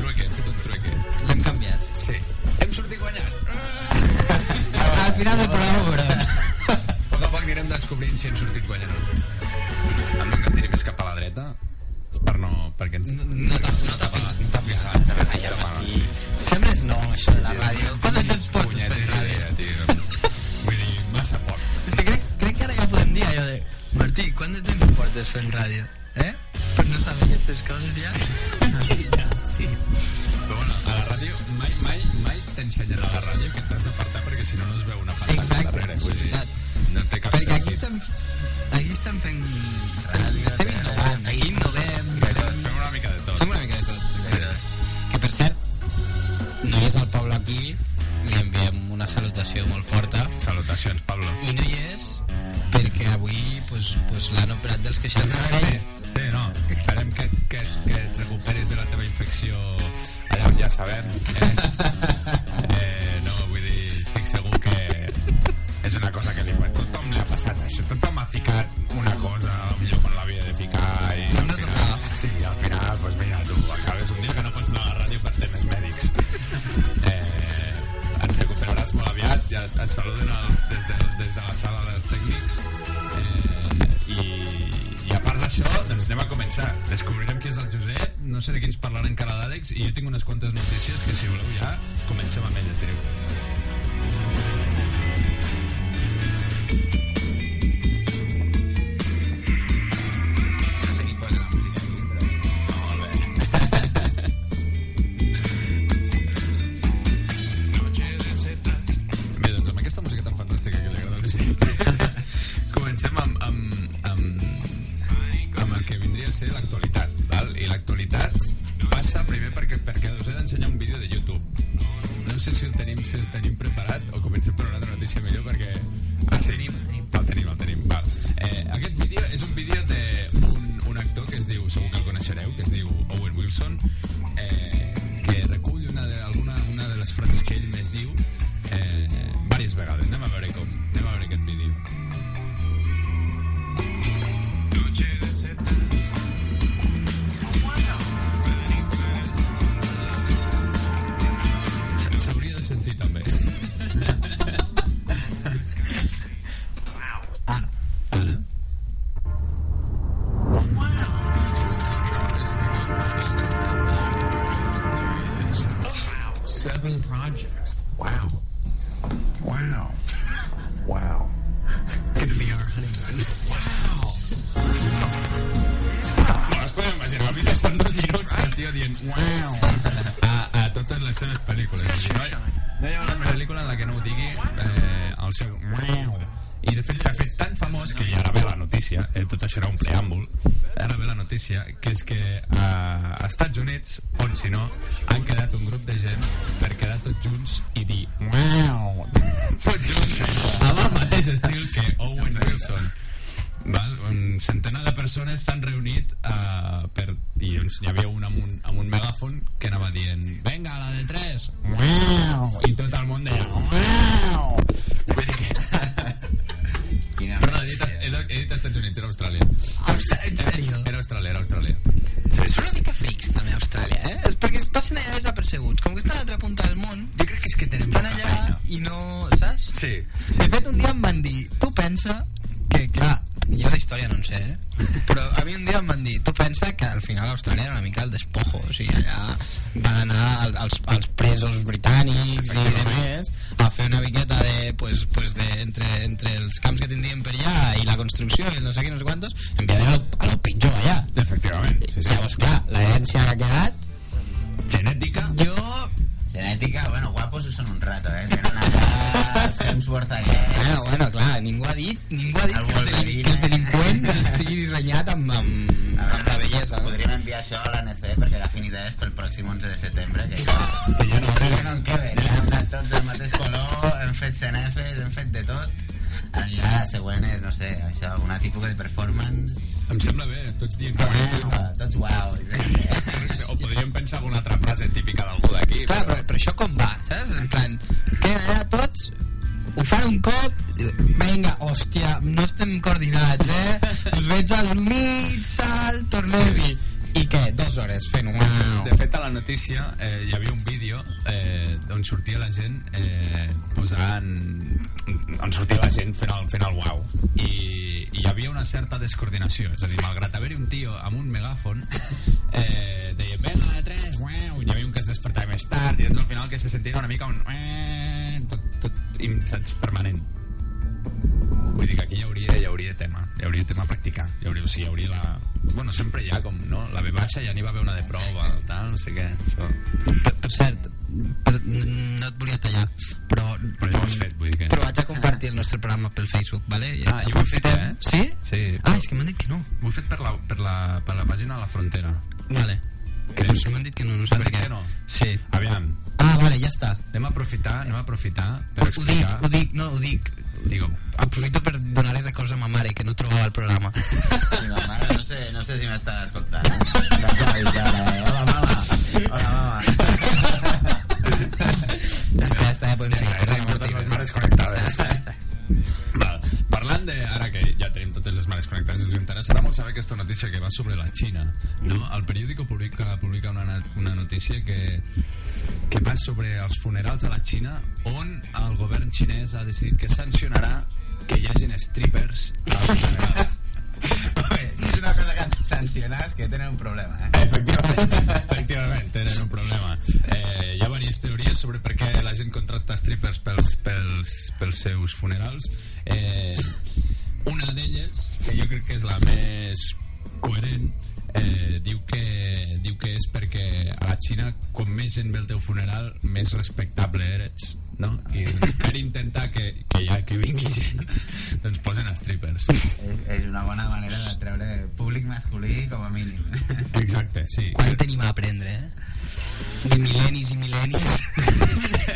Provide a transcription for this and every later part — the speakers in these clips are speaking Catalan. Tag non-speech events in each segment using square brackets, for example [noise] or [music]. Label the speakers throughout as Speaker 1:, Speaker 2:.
Speaker 1: Ah.
Speaker 2: si han sortit guanyant. Em van tenir més cap a la dreta per no... Perquè ens...
Speaker 1: No, no tap- no tapis.
Speaker 2: No tapis. No tapis. No tapis.
Speaker 1: [laughs] Sempre és nou, això, de la ràdio. Quant de temps portes
Speaker 2: Punyetera
Speaker 1: fent ràdio?
Speaker 2: idea, tio. Vull dir, massa poc.
Speaker 1: És que crec, crec que ara ja podem dir allò de... Martí, quant de temps portes fent ràdio? Eh? Per no saber aquestes coses [laughs] ja...
Speaker 2: Però bueno, a la ràdio mai, mai, mai t'ensenyen a la ràdio que t'has d'apartar perquè si no no es veu una pantalla
Speaker 1: Exacte,
Speaker 2: darrere. Vull dir,
Speaker 1: exacte.
Speaker 2: no té cap
Speaker 1: Perquè
Speaker 2: sentit.
Speaker 1: aquí estem... Aquí estem fent... Estem, estem innovant, aquí innovem...
Speaker 2: Fem una mica de tot.
Speaker 1: Fem una mica de tot.
Speaker 2: Sí. eh.
Speaker 3: Que per cert, no és el Pablo aquí, li enviem una salutació molt forta.
Speaker 2: Salutacions, Pablo.
Speaker 3: I no hi és perquè avui pues, pues, l'han operat dels queixals de
Speaker 2: Sí,
Speaker 3: seny.
Speaker 2: sí, no. Esperem que, que, que et recuperis de la teva infecció allà on ja sabem. Eh? Eh, no, vull dir, estic segur que és una cosa que li pot... Tothom li ha passat això. Tothom ha ficat una cosa, millor quan l'havia de ficar. I al
Speaker 1: no
Speaker 2: final,
Speaker 1: tocava.
Speaker 2: sí, al final, doncs mira, tu acabes un dia que no pots anar a la ràdio per temes mèdics. Eh, et recuperaràs molt aviat. Ja et saluden els, des, de, des de la sala dels tècnics. Eh, i, i a part d'això, doncs anem a començar. Descobrirem qui és el Josep, no sé de quins parlarà encara l'Àlex, i jo tinc unes quantes notícies que, si voleu, ja comencem amb elles, direu. Bé, doncs amb aquesta música tan fantàstica que li agrada al Josep, comencem amb, amb, amb, amb el que vindria a ser l'actualitat. val? I l'actualitat passa primer perquè, perquè us he d'ensenyar un vídeo de YouTube. No sé si el tenim, si el tenim preparat o comencem per una altra notícia millor perquè... Ah, sí,
Speaker 1: tenim, el tenim.
Speaker 2: el tenim, el tenim. Val. Eh, aquest vídeo és un vídeo d'un un actor que es diu, segur que el coneixereu, que es diu Owen Wilson, eh, que recull una de, alguna, una de les frases que ell més diu eh, diverses vegades. Anem a veure com. Anem a veure aquest vídeo. S- S'hauria de sentir també. Ara.
Speaker 4: Seven projects. Wow. Wow. Wow. Gonna be our honeymoon.
Speaker 2: No es podeu imaginar, el vídeo són dos minuts del tio dient uau a, a totes les seves pel·lícules. Vull dir, No hi, no hi ha una pel·lícula en la que no ho digui eh, el seu uau. I de fet s'ha fet tan famós que i ara ve la notícia, eh, tot això era un preàmbul, ara ve la notícia, que és que a Estats Units, on si no, han quedat un grup de gent per quedar tots junts i dir uau, [laughs] tots junts, eh, amb el mateix estil que Owen Wilson. Val? Un centenar de persones s'han reunit uh, per, i doncs hi havia un amb, un amb un megàfon que anava dient venga, la de 3 i tot el món deia "Uau". Vull dir que- [laughs]
Speaker 5: Quina
Speaker 2: Perdó, he dit, he, dit- he dit Estats Units, era Austràlia
Speaker 1: Austra- En sèrio?
Speaker 2: era Austràlia, era Austràlia
Speaker 1: Són una mica frics, també, a Austràlia, eh? És perquè es passen allà desapercebuts. Com que estan a l'altra punta del món,
Speaker 2: jo crec que és que tenen
Speaker 1: estan allà i no... Saps?
Speaker 2: sí,
Speaker 1: De fet, un dia em van dir, tu pensa que, clar, jo de història no en sé, eh? però a mi un dia em van dir, tu pensa que al final Austràlia era una mica el despojo, o sigui, allà van anar al- als, als presos britànics i demés a fer una miqueta de, pues, pues de, entre, entre els camps que tindrien per allà i la construcció i no sé què, no sé quantos, enviaven a lo, a lo pitjor allà.
Speaker 2: efectivament sí, sí.
Speaker 1: Llavors, clar, l'herència que ha quedat,
Speaker 2: genètica
Speaker 1: jo...
Speaker 5: Genètica, bueno, guapos ho són un rato, eh? Tenen una cara... Hemsworth aquest...
Speaker 1: Bueno, bueno, clar, ningú ha dit, ningú ha dit eh?
Speaker 5: El
Speaker 1: que els, delin-
Speaker 5: Wolverine.
Speaker 1: que els delinqüents estiguin renyats amb, amb, amb la bellesa, no?
Speaker 5: Podríem enviar això a l'ANC perquè agafin idees pel pròxim 11 de setembre, que ja...
Speaker 2: que ja no
Speaker 5: Que no en queden, eh? Hem anat tots del mateix color, hem fet cenefes, hem fet de tot. Allà, la següent és, no sé, això, una típica de performance...
Speaker 2: em sembla bé, tots dient
Speaker 5: Uau, tots uau.
Speaker 2: o podríem pensar alguna altra frase típica d'algú d'aquí
Speaker 1: Clar, però, però això com va, saps? En plan, queden allà tots, ho fan un cop, vinga, hòstia, no estem coordinats, eh? Us veig al mig, tal, tornem-hi. I què, dues hores fent un...
Speaker 2: Ah, De fet, a la notícia eh, hi havia un vídeo eh, on sortia la gent eh, posant... on sortia la gent fent el, fent el guau. I, I hi havia una certa descoordinació. És a dir, malgrat haver-hi un tio amb un megàfon, eh, deien, venga, de tres, uau, hi havia un que es despertava més tard, i doncs al final que se sentia una mica un... eh, Tot, tot, i, saps, permanent. Vull dir que aquí hi hauria, hi hauria tema, hi hauria tema a practicar. Hi hauria, o sigui, hi hauria la... Bueno, sempre hi ha com, no? La B baixa ja n'hi va haver una de prova, tal, no sé què. Això.
Speaker 1: Per, per cert, per, no et volia tallar, però...
Speaker 2: Però ja ho has fet, vull dir que...
Speaker 1: Però vaig a compartir el nostre programa pel Facebook, vale?
Speaker 2: Ah, jo ho he fet, eh?
Speaker 1: Sí?
Speaker 2: Sí.
Speaker 1: Ah, és que m'han dit que no.
Speaker 2: Ho he fet per la, per la, per la pàgina de la frontera.
Speaker 1: Vale.
Speaker 2: Crec.
Speaker 1: Doncs m'han dit que no, no sé
Speaker 2: T'han
Speaker 1: per
Speaker 2: dit
Speaker 1: què.
Speaker 2: que no?
Speaker 1: Sí.
Speaker 2: Aviam,
Speaker 1: Ah, vale, ja està.
Speaker 2: anem a aprofitar, anem a aprofitar per
Speaker 1: Ho, ho dic,
Speaker 2: explicar...
Speaker 1: ho dic, no, ho dic.
Speaker 2: Digue'm.
Speaker 1: Aprofito per donar-li records a ma mare, que no trobava el
Speaker 5: [laughs]
Speaker 1: programa.
Speaker 5: I ma mare, no sé, no sé si m'està escoltant. Vaig a avisar-la, eh? Hola, mama. Hola, mama.
Speaker 1: ja està, ja està, ja podem
Speaker 2: Ja,
Speaker 1: seguir.
Speaker 2: ja tenim
Speaker 1: Perdona,
Speaker 2: totes les
Speaker 1: Martí.
Speaker 2: mares
Speaker 1: [laughs]
Speaker 2: connectades. Val. Parlant de... Ara que ja tenim totes les mares connectades, ens interessarà molt saber aquesta notícia que va sobre la Xina. No? El periòdico publica, publica una, na- una notícia que, que va sobre els funerals a la Xina on el govern xinès ha decidit que sancionarà que hi hagin strippers als funerals.
Speaker 5: Home, si és una cosa que sancionar és que tenen un problema, eh?
Speaker 2: Efectivament, efectivament, tenen un problema. Eh, hi ha diverses teories sobre per què la gent contracta strippers pels, pels, pels seus funerals. Eh, una d'elles, que jo crec que és la més coherent, eh, diu, que, diu que és perquè a la Xina, com més gent ve al teu funeral, més respectable eres. No? I per intentar que, que, hi ha, que vingui gent, doncs posen strippers.
Speaker 5: És, és una bona manera de treure públic masculí com a mínim.
Speaker 2: Exacte, sí.
Speaker 1: Quant tenim a aprendre, eh? De mil·lennis i
Speaker 5: [laughs]
Speaker 1: mil·lennis.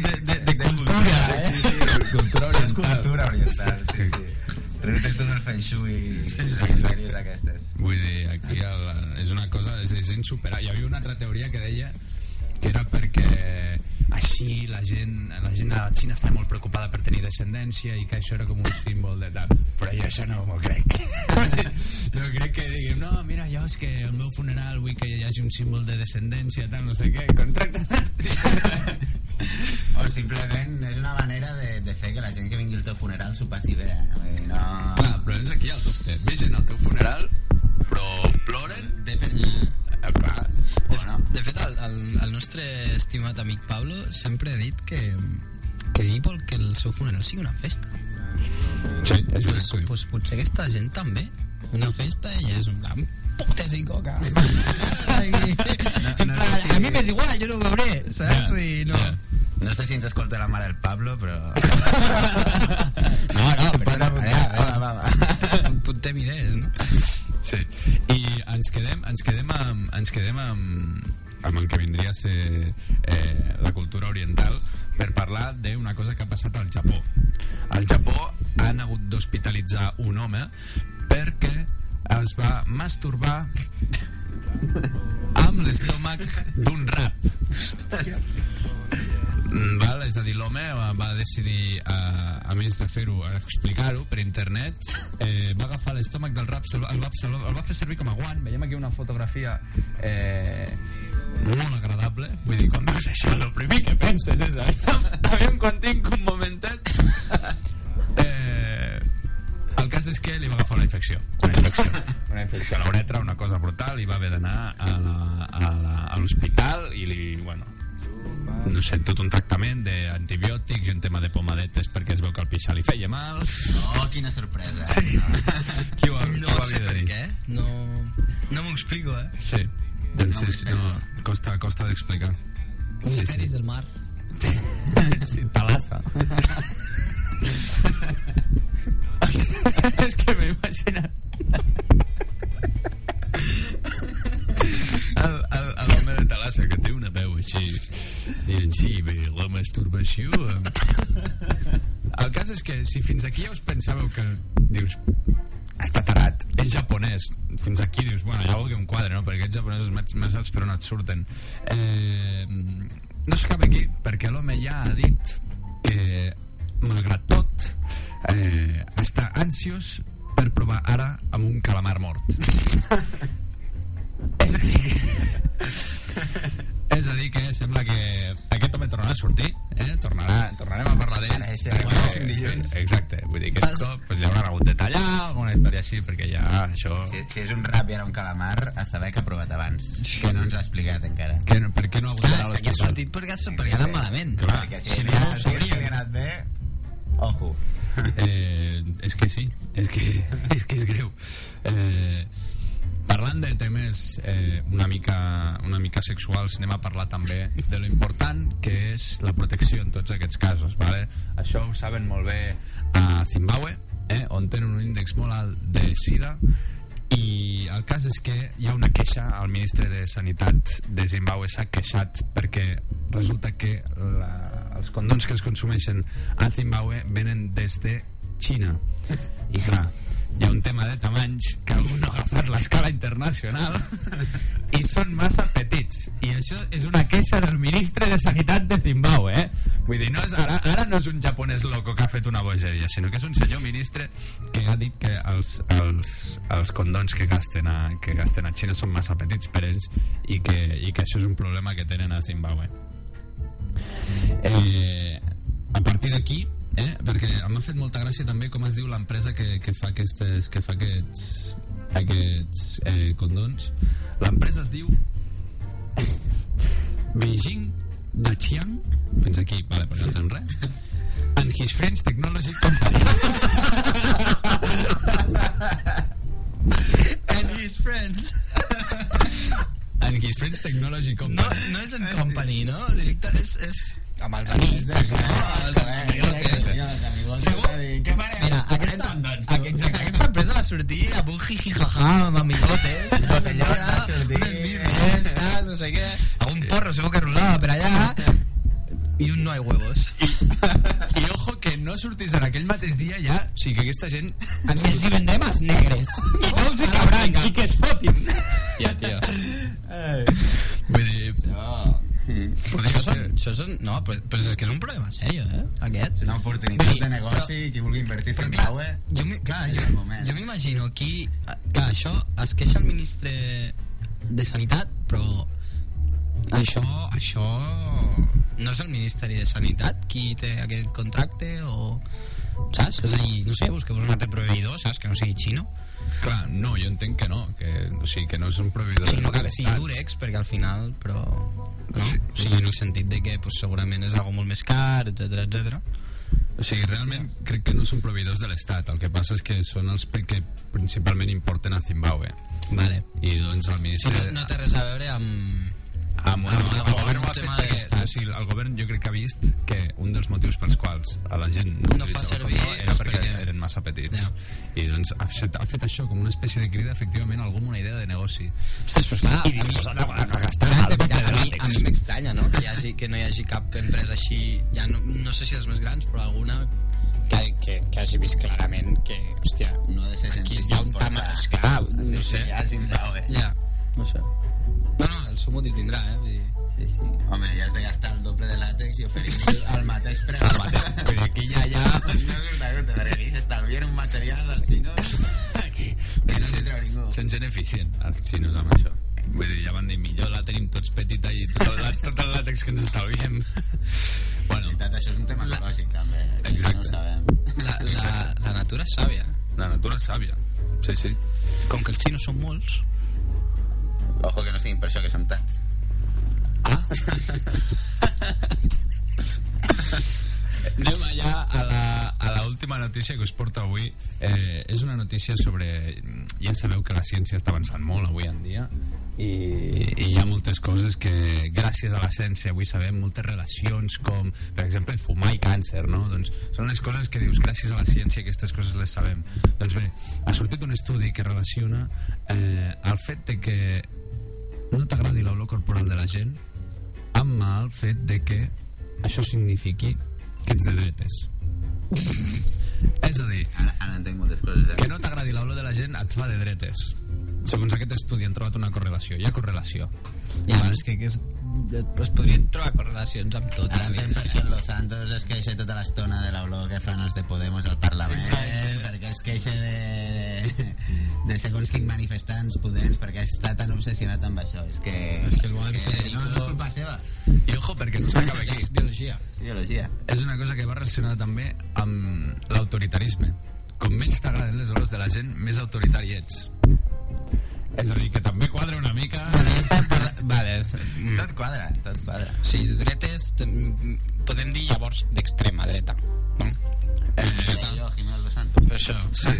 Speaker 5: De,
Speaker 1: de- de cultura, eh?
Speaker 5: Sí, sí.
Speaker 2: Cultura
Speaker 5: És
Speaker 2: oriental.
Speaker 5: cultura oriental, sí, sí. Riu-te tu del feng shui i sí, sí, les sèries aquestes.
Speaker 2: Vull dir, aquí el, és una cosa, és, és insuperable. Hi havia una altra teoria que deia que era perquè així la gent, la gent a la Xina està molt preocupada per tenir descendència i que això era com un símbol de tal. Però jo això no m'ho crec. [laughs] no crec que diguem, no, mira, jo és que al meu funeral vull que hi hagi un símbol de descendència, tal, no sé què, contracten
Speaker 5: O simplement és una manera de, de fer que la gent que vingui al teu funeral s'ho passi bé. eh? No...
Speaker 2: [laughs] Clar, però és aquí el dubte. Ve gent al teu funeral, però ploren...
Speaker 1: De, de,
Speaker 2: Eh, clar,
Speaker 5: Bueno,
Speaker 1: de fet, el, el, el nostre estimat amic Pablo sempre ha dit que que ell vol que el seu funeral sigui una festa.
Speaker 2: sí, és un
Speaker 1: Pues, pues, potser aquesta gent també. Una festa i és un plan putes i coca.
Speaker 5: no sé si-
Speaker 1: A mi m'és igual, jo no ho veuré, saps? I no...
Speaker 2: Ja.
Speaker 5: no sé si ens escolta la mare del Pablo, però...
Speaker 1: No, no,
Speaker 5: Em
Speaker 1: però
Speaker 5: pot
Speaker 1: no,
Speaker 5: apuntar,
Speaker 1: eh,
Speaker 5: hola, mama.
Speaker 1: Puntem idees, no?
Speaker 2: Sí. I ens quedem, ens quedem amb, ens quedem amb, amb el que vindria a ser eh, la cultura oriental per parlar d'una cosa que ha passat al Japó. Al Japó han hagut d'hospitalitzar un home perquè es va masturbar amb l'estómac d'un rap. Mm, Val, és a dir, l'home eh, va decidir, a, a més de fer-ho, a explicar-ho per internet, eh, va agafar l'estómac del rap, se'l va- el, va, se'l va- el va fer servir com a guant. Veiem aquí una fotografia eh, molt agradable. Vull dir, quan veus això, el primer que penses és aviam, [laughs] aviam quan tinc un momentet... [laughs] Eh, el cas és que li va agafar una infecció. Una infecció. Una infecció a la uretra, una cosa brutal, i va haver d'anar a la- a la- a l'hospital i li, bueno, no sé, tot un tractament d'antibiòtics i un tema de pomadetes perquè es veu que el pixar li feia
Speaker 1: [laughs]
Speaker 2: mal.
Speaker 5: Oh, quina sorpresa.
Speaker 2: Qui ho, ha- qui ho
Speaker 1: No sé
Speaker 2: havia de
Speaker 1: per
Speaker 2: dir?
Speaker 1: què. No, no m'ho explico, eh?
Speaker 2: Sí. Doncs és, no, costa, costa d'explicar.
Speaker 1: Misteris del mar.
Speaker 2: Sí, talassa. [laughs] és que m'he
Speaker 1: [laughs]
Speaker 2: imaginat. El- el- el home de Talassa que té una veu així dient, sí, bé, la masturbació
Speaker 1: [laughs]
Speaker 2: eh." el cas és que si fins aquí ja us pensàveu que dius, està tarat és japonès, fins aquí dius bueno, ja vol que un quadre, no? perquè aquests japonesos més, més saps per on et surten eh, no s'acaba aquí perquè l'home ja ha dit que malgrat tot eh, està ansiós per provar ara amb un calamar mort És a dir que eh? Sembla que aquest home tornarà a sortir, eh? Tornarà, tornarem a parlar d'ell.
Speaker 5: Ara, sí,
Speaker 2: perquè-
Speaker 5: bueno, les condicions.
Speaker 2: Exacte, vull dir que
Speaker 1: Pas-
Speaker 2: aquest cop pues, li hauran hagut de tallar, alguna història així, perquè ja això...
Speaker 5: Si, si és un rap i era un calamar, a saber que ha provat abans. Que no ens ha explicat encara.
Speaker 2: Que, no- per què no ha hagut
Speaker 1: Clar,
Speaker 2: d'anar a
Speaker 1: és que ha
Speaker 2: l'hospital?
Speaker 1: sortit perquè, perquè ha anat malament.
Speaker 2: Clar,
Speaker 5: Perquè
Speaker 2: si
Speaker 5: Ah, si, li
Speaker 2: no,
Speaker 5: ha- si li
Speaker 2: sabríem.
Speaker 5: ha anat bé, ojo.
Speaker 2: Eh, és que sí, és que [laughs] és, que és greu. Eh, parlant de temes eh, una, mica, una mica sexuals, anem a parlar també de lo important que és la protecció en tots aquests casos. Vale? Això ho saben molt bé a Zimbabue, eh, on tenen un índex molt alt de sida i el cas és que hi ha una queixa al ministre de Sanitat de Zimbabue s'ha queixat perquè resulta que la, els condons que es consumeixen a Zimbabue venen des de Xina i clar, hi ha un tema de tamanys que algú no ha agafat l'escala internacional [laughs] i són massa petits i això és una queixa del ministre de Sanitat de Zimbabue eh? vull dir, no és, ara, ara no és un japonès loco que ha fet una bogeria, sinó que és un senyor ministre que ha dit que els, els, els condons que gasten, a, que gasten a Xina són massa petits per ells i que, i que això és un problema que tenen a Zimbabue eh, a partir d'aquí eh, perquè m'ha fet molta gràcia també com es diu l'empresa que, que fa aquestes que fa aquests aquests eh, condons l'empresa es diu Beijing Dachiang fins aquí, vale, però no entenem res and his friends technology company
Speaker 1: And his friends.
Speaker 2: and his friends technology
Speaker 1: No,
Speaker 2: company
Speaker 1: no és en company, no? Directe, és... és... Amb els amics. Mira, aquesta, aquesta, aquesta empresa va sortir amb un jijijajà, amb
Speaker 2: [laughs]
Speaker 1: amigotes,
Speaker 5: Botellona,
Speaker 1: senyora,
Speaker 5: sortir.
Speaker 1: unes birres, tal, no sé què, a un porro segur que rulava per allà, i un no hay huevos.
Speaker 2: [laughs] i ojo que no sortís en aquell mateix dia ja, o sigui que aquesta gent
Speaker 1: Ens els hi vendem als negres.
Speaker 2: [laughs] no els hi cabran i que es fotin ja, tio vull dir
Speaker 1: Això són, això són, no, però, però és que és un problema sèrio, eh, aquest.
Speaker 5: És una oportunitat de negoci, qui vulgui invertir
Speaker 1: Però
Speaker 5: en
Speaker 1: clar,
Speaker 5: Zimbabue...
Speaker 1: jo, mi- clar,
Speaker 5: És el
Speaker 1: jo,
Speaker 5: moment.
Speaker 1: jo m'imagino aquí... ah, Clar, això es queixa el ministre de Sanitat, però això, això no és el Ministeri de Sanitat qui té aquest contracte o... Saps? És a dir, no sé, busqueu un altre proveïdor, saps? Que no sigui xino.
Speaker 2: clar, no, jo entenc que no que, o sigui, que no és un proveïdor
Speaker 1: Sí, no cal que sigui
Speaker 2: d'estat.
Speaker 1: durex, perquè al final, però... No? O sigui, en el sentit de que pues, segurament és algo molt més car, etc etc.
Speaker 2: O sigui, realment crec que no són proveïdors de l'Estat, el que passa és que són els pri- que principalment importen a Zimbabue.
Speaker 1: Vale.
Speaker 2: I doncs el
Speaker 1: Això
Speaker 2: ministre...
Speaker 1: no, no té res a veure amb...
Speaker 2: amb, amb,
Speaker 1: amb-
Speaker 2: el govern
Speaker 1: amb
Speaker 2: ho ha
Speaker 1: un
Speaker 2: fet
Speaker 1: tema
Speaker 2: perquè,
Speaker 1: d'estat.
Speaker 2: o sigui, el govern jo crec que ha vist que un dels motius pels quals a la gent no,
Speaker 1: No fa
Speaker 2: utilitzava
Speaker 1: servir
Speaker 2: condó era
Speaker 1: és
Speaker 2: perquè,
Speaker 1: perquè-
Speaker 2: eren massa petits.
Speaker 1: Ja.
Speaker 2: I doncs ha fet, ha fet això com una espècie de crida, efectivament, a algú amb una idea de negoci.
Speaker 1: Ostres, però clar,
Speaker 2: I disposat a, a gastar
Speaker 1: Clar,
Speaker 2: el doble
Speaker 1: perquè
Speaker 2: de
Speaker 1: a mi, a
Speaker 2: làtex.
Speaker 1: mi m'estranya, no? Que, hi hagi, que no hi hagi cap empresa així, ja no, no sé si les més grans, però alguna...
Speaker 3: Que, que, que hagi vist clarament que, hòstia,
Speaker 5: No ha de ser
Speaker 3: aquí
Speaker 5: senzill.
Speaker 3: hi ha un tema... Clar, no sé.
Speaker 5: Ja, Zimbabue.
Speaker 1: Ja, no sé. No, no, el sumo t'hi tindrà, eh? Vull dir...
Speaker 5: Sí, sí. Home, ja has de gastar el doble de làtex i oferir el mateix preu.
Speaker 2: Al mateix. Vull dir, Aquí ja, ja...
Speaker 5: [laughs] No és una gota, perquè aquí s'estalvien un material del xino.
Speaker 2: Aquí.
Speaker 5: Que no s'hi treu ningú.
Speaker 2: Se'n gent eficient, els xinos, amb això. Vull dir, ja van dir, millor la tenim tots petita i tot, el- [laughs] tot el làtex que ens estalviem. Bueno,
Speaker 5: En realitat, això és un tema ecològic, també. Això no ho
Speaker 2: Exacte.
Speaker 5: sabem.
Speaker 1: La, la, la natura és sàvia.
Speaker 2: la natura és sàvia. Sí, sí.
Speaker 1: Com que els xinos són molts...
Speaker 5: Ojo que no siguin per això, que són tants.
Speaker 2: Anem allà a la, a la última notícia que us porto avui. Eh, és una notícia sobre... mm, Ja sabeu que la ciència està avançant molt avui en dia i, i hi ha moltes coses que gràcies a la ciència avui sabem moltes relacions com, per exemple, fumar i càncer, no? Doncs són les coses que dius gràcies a la ciència aquestes coses les sabem. Doncs bé, ha sortit un estudi que relaciona eh, el fet de que no t'agradi l'olor corporal de la gent amb el fet de que això signifiqui que ets de dretes. És a dir,
Speaker 5: Ara, ara entenc moltes coses,
Speaker 2: que
Speaker 5: eh?
Speaker 2: no t'agradi l'olor de la gent et fa de dretes. segons aquest estudi han trobat una correlació. Hi ha correlació.
Speaker 3: Llavors, és que, que és, es podrien trobar correlacions amb tot.
Speaker 5: Ara
Speaker 3: la
Speaker 5: entenc
Speaker 3: vida.
Speaker 5: per què los Santos es queixa tota l'estona de la olor que fan els de Podemos al Parlament, perquè es queixa de, de segons quins manifestants pudents, perquè està tan obsessionat amb això. És que,
Speaker 3: És que el bon Federico-
Speaker 5: no, no és culpa seva,
Speaker 2: I ojo, perquè no s'acaba aquí.
Speaker 3: És biologia.
Speaker 5: és ideologia.
Speaker 2: És una cosa que va relacionada també amb l'autoritarisme. Com més t'agraden les olors de la gent, més autoritari ets. És a dir, que també quadra una mica...
Speaker 3: Vale.
Speaker 5: Tot quadra, tot quadra.
Speaker 3: Sí, dretes, mm, podem dir llavors d'extrema dreta. No?
Speaker 2: Eh,
Speaker 5: Jo, Jiménez Los Santos.
Speaker 3: Per això.
Speaker 2: sí,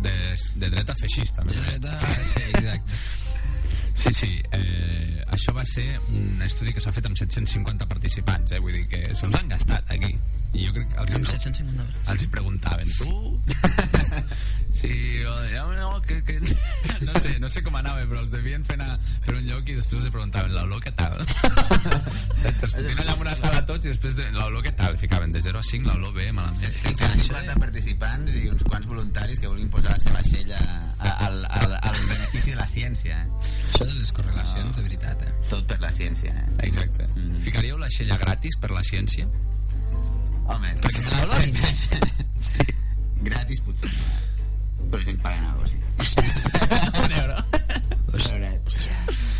Speaker 2: de, de dreta feixista. més o menys.
Speaker 3: Dreta, sí, exacte.
Speaker 2: Sí, sí. Eh, això va ser un estudi que s'ha fet amb 750 participants, eh? Vull dir que se'ls han gastat aquí. I jo crec que els,
Speaker 3: Amb
Speaker 2: hi,
Speaker 3: 750
Speaker 2: els hi preguntaven, tu...
Speaker 3: [laughs]
Speaker 2: sí, o de, "Ah, no, que, [laughs] que... no, sé, no sé com anava, però els devien fer anar per un lloc i després els preguntaven, l'olor què
Speaker 3: [laughs]
Speaker 2: tal? Saps? Els fotien allà en una sala tots i després de, l'olor què tal? Ficaven de 0 a 5, l'olor bé, malament.
Speaker 5: 150 participants i uns quants voluntaris que vulguin posar la seva xella a- al, al, al benefici de la ciència. Eh?
Speaker 3: Això de les correlacions, de veritat, eh?
Speaker 5: Tot per la ciència, eh?
Speaker 2: Exacte.
Speaker 5: Mm.
Speaker 2: Ficaríeu la xella gratis per la ciència?
Speaker 5: Home,
Speaker 3: Perquè te l'olor. [laughs]
Speaker 5: sí. gratis potser no, però si em paguen alguna cosa.
Speaker 2: Un euro.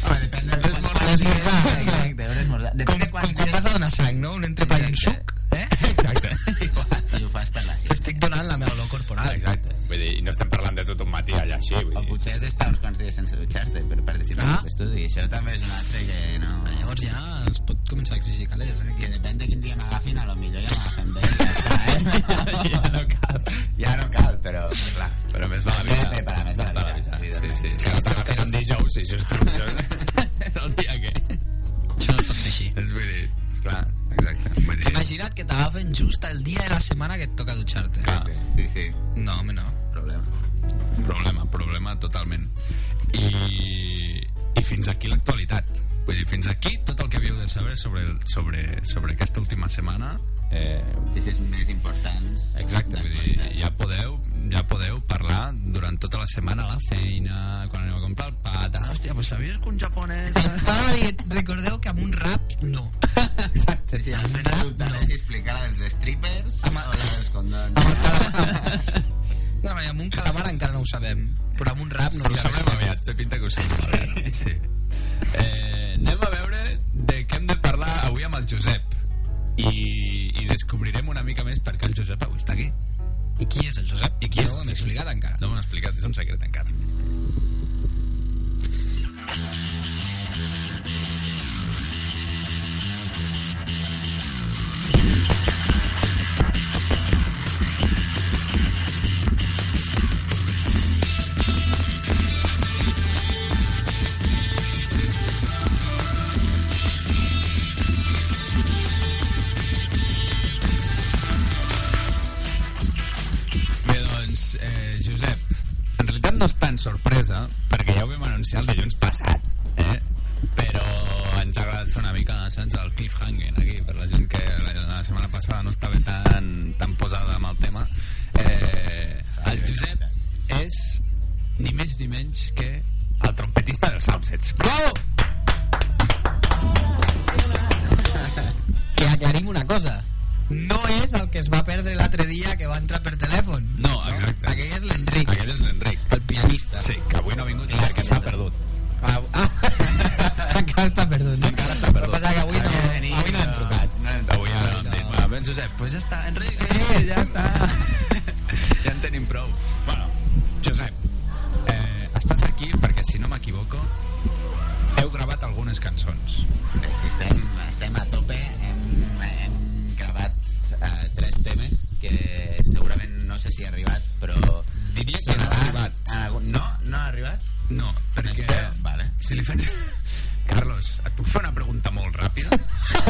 Speaker 5: Home, depèn de les
Speaker 1: l'esmorzar.
Speaker 5: Exacte, un esmorzar. Depèn de
Speaker 1: Com
Speaker 5: quants
Speaker 1: quan vas
Speaker 5: dies...
Speaker 1: a donar sang, no? Un entrepà i un suc,
Speaker 5: [laughs] Exacte.
Speaker 1: eh?
Speaker 5: I ho fas per la ciència.
Speaker 3: T'estic donant la meva olor corporal.
Speaker 6: Ah, Exacte. Vull dir, i no estem parlant de tot un matí allà així. Vull
Speaker 5: O
Speaker 6: dir.
Speaker 5: potser has d'estar uns quants dies sense dutxar-te per participar
Speaker 3: Ah.
Speaker 5: en l'estudi. Això també és un altre que no...
Speaker 3: Llavors ja es pot començar a exigir calés, eh?
Speaker 5: Que
Speaker 3: Que
Speaker 5: depèn de quin dia m'agafin, a lo millor ja m'agafen bé. [laughs] Ja, està, eh? ja no cal. Ja no cal, però clar.
Speaker 2: Però més val
Speaker 5: Bé,
Speaker 2: avisar.
Speaker 5: bé, per a més val avisar,
Speaker 2: Sí, sí. Si
Speaker 5: evidentment.
Speaker 2: l'estàs fent un dijous, sí, això és
Speaker 6: [laughs]
Speaker 2: truc. És el dia que...
Speaker 3: això no es pot fer així.
Speaker 2: És Doncs vull dir... Esclar, exacte. Vull dir...
Speaker 3: Imagina't que t'agafen just el dia de la setmana que et toca dutxar-te.
Speaker 2: Clar,
Speaker 5: Sí, sí,
Speaker 3: No, home, no.
Speaker 5: problema.
Speaker 2: problema, problema totalment. I, i fins aquí l'actualitat. Vull dir, fins aquí tot el que havíeu de saber sobre, el, sobre, sobre aquesta última setmana. Eh,
Speaker 5: Notícies més importants.
Speaker 2: exacte, vull dir, ja podeu, ja podeu parlar durant tota la setmana a la feina, quan aneu a comprar el Ah, pat. Ah, hòstia, pues sabies que un japonès...
Speaker 3: Estava dient, recordeu que amb un rap, no.
Speaker 5: Sí, sí, al final dubtaré si explicar la dels strippers o la dels condons.
Speaker 3: No, amb un calamar encara no ho sabem, però amb un rap no
Speaker 2: Ho
Speaker 3: ho
Speaker 2: sabrem
Speaker 3: sabem.
Speaker 2: aviat, té pinta que ho sabrem aviat. no? Sí. Eh, anem a veure de què hem de parlar avui amb el Josep. I, i descobrirem una mica més per què el Josep avui està aquí.
Speaker 3: [laughs] I qui és el Josep? I qui és? No ho hem explicat encara.
Speaker 2: No m'ho han explicat, és un secret encara. Bé, doncs, eh, Josep, en realitat no és tan sorpresa, perquè ja ho vam anunciar el dilluns passat, eh? però ens ha agradat fer una mica, saps, el cliffhanger aquí, per la gent que la, la setmana passada no estava tan, tan posada amb el tema. Eh, el Josep és ni més ni menys que el trompetista dels Soundsets. Bravo!
Speaker 3: Que aclarim una cosa. No és el que es va perdre l'altre dia que va entrar per telèfon.
Speaker 2: No, exacte.
Speaker 3: Aquell és l'Enric,
Speaker 2: Aquell és l'Enric.
Speaker 3: el pianista.
Speaker 2: Sí, que avui no ha vingut perquè s'ha perdut.
Speaker 3: Ah, ah,
Speaker 1: ah.
Speaker 3: encara està perdut. no?
Speaker 2: Encara està perdut.
Speaker 3: El que passa que avui no, avui no hem trucat.
Speaker 2: Avui ja no, no. Bueno, ben Josep, pues ja està, Enric, eh, ja està. [laughs] ja en tenim prou. Bueno, Josep, eh, estàs aquí perquè, si no m'equivoco, heu gravat algunes cançons.
Speaker 5: Bé, si estem, estem a tope, hem, hem gravat eh, tres temes que segurament no sé si ha arribat, però...
Speaker 2: Diria que no ha
Speaker 5: sonaran
Speaker 2: arribat.
Speaker 3: eh,
Speaker 5: en algun- No? No ha arribat?
Speaker 2: No, perquè...
Speaker 5: Espera, vale.
Speaker 2: Si li faig... [laughs] Carlos, et puc fer una pregunta molt ràpida?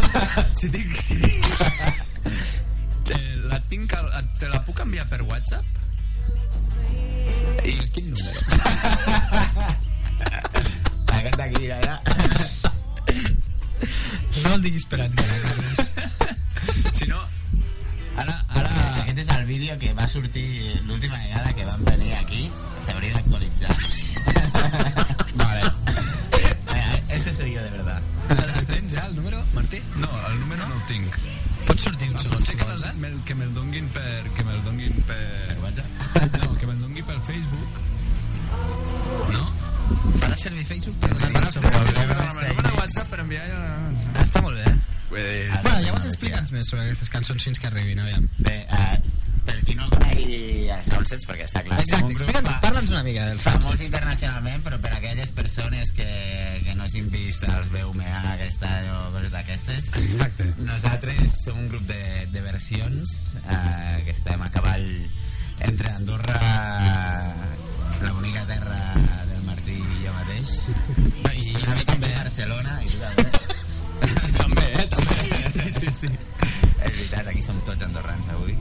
Speaker 2: [laughs] si dic... Si dic... Te, la tinc al, te la puc enviar per WhatsApp? I quin [laughs] número?
Speaker 5: Aquest d'aquí dirà, ja.
Speaker 3: No el diguis per antena, Carles.
Speaker 2: Si no, ara, ara...
Speaker 5: [laughs] Aquest és Este el vídeo
Speaker 2: [laughs]
Speaker 5: que va sortir l'última vegada que vam venir aquí. S'hauria d'actualitzar. [laughs] soy yo de verdad.
Speaker 1: El tens ja, el número, Martí?
Speaker 2: No, el número no el tinc.
Speaker 1: Pots sortir un segon,
Speaker 2: Potser
Speaker 1: si
Speaker 2: que me'l
Speaker 1: vols, eh?
Speaker 2: me, que me'l donguin per... Que me'l donguin per... [laughs] No, que me'l dongui per Facebook. No?
Speaker 1: Farà servir Facebook per donar
Speaker 5: Farà
Speaker 1: sobre el
Speaker 5: servir-
Speaker 2: Però me'l donen a WhatsApp per enviar... ja-
Speaker 1: Està molt bé, eh?
Speaker 2: Eh,
Speaker 1: Bueno, llavors explica'ns més sobre aquestes cançons fins que arribin, aviam.
Speaker 5: Bé, eh, per qui no el conegui el Soundsets, perquè està clar.
Speaker 1: Exacte, explica'ns, parla'ns una mica dels
Speaker 5: Famós
Speaker 1: Soundsets.
Speaker 5: internacionalment, però per a aquelles persones que, que no s'han vist els BMA, aquesta o coses d'aquestes.
Speaker 2: Exacte.
Speaker 5: Nosaltres som un grup de, de versions eh, que estem a cavall entre Andorra, la bonica terra del Martí i jo mateix, i una mica també Barcelona, i tu també.
Speaker 2: [laughs] També, eh? També. Sí, sí, sí.
Speaker 5: És veritat, aquí som tots andorrans avui.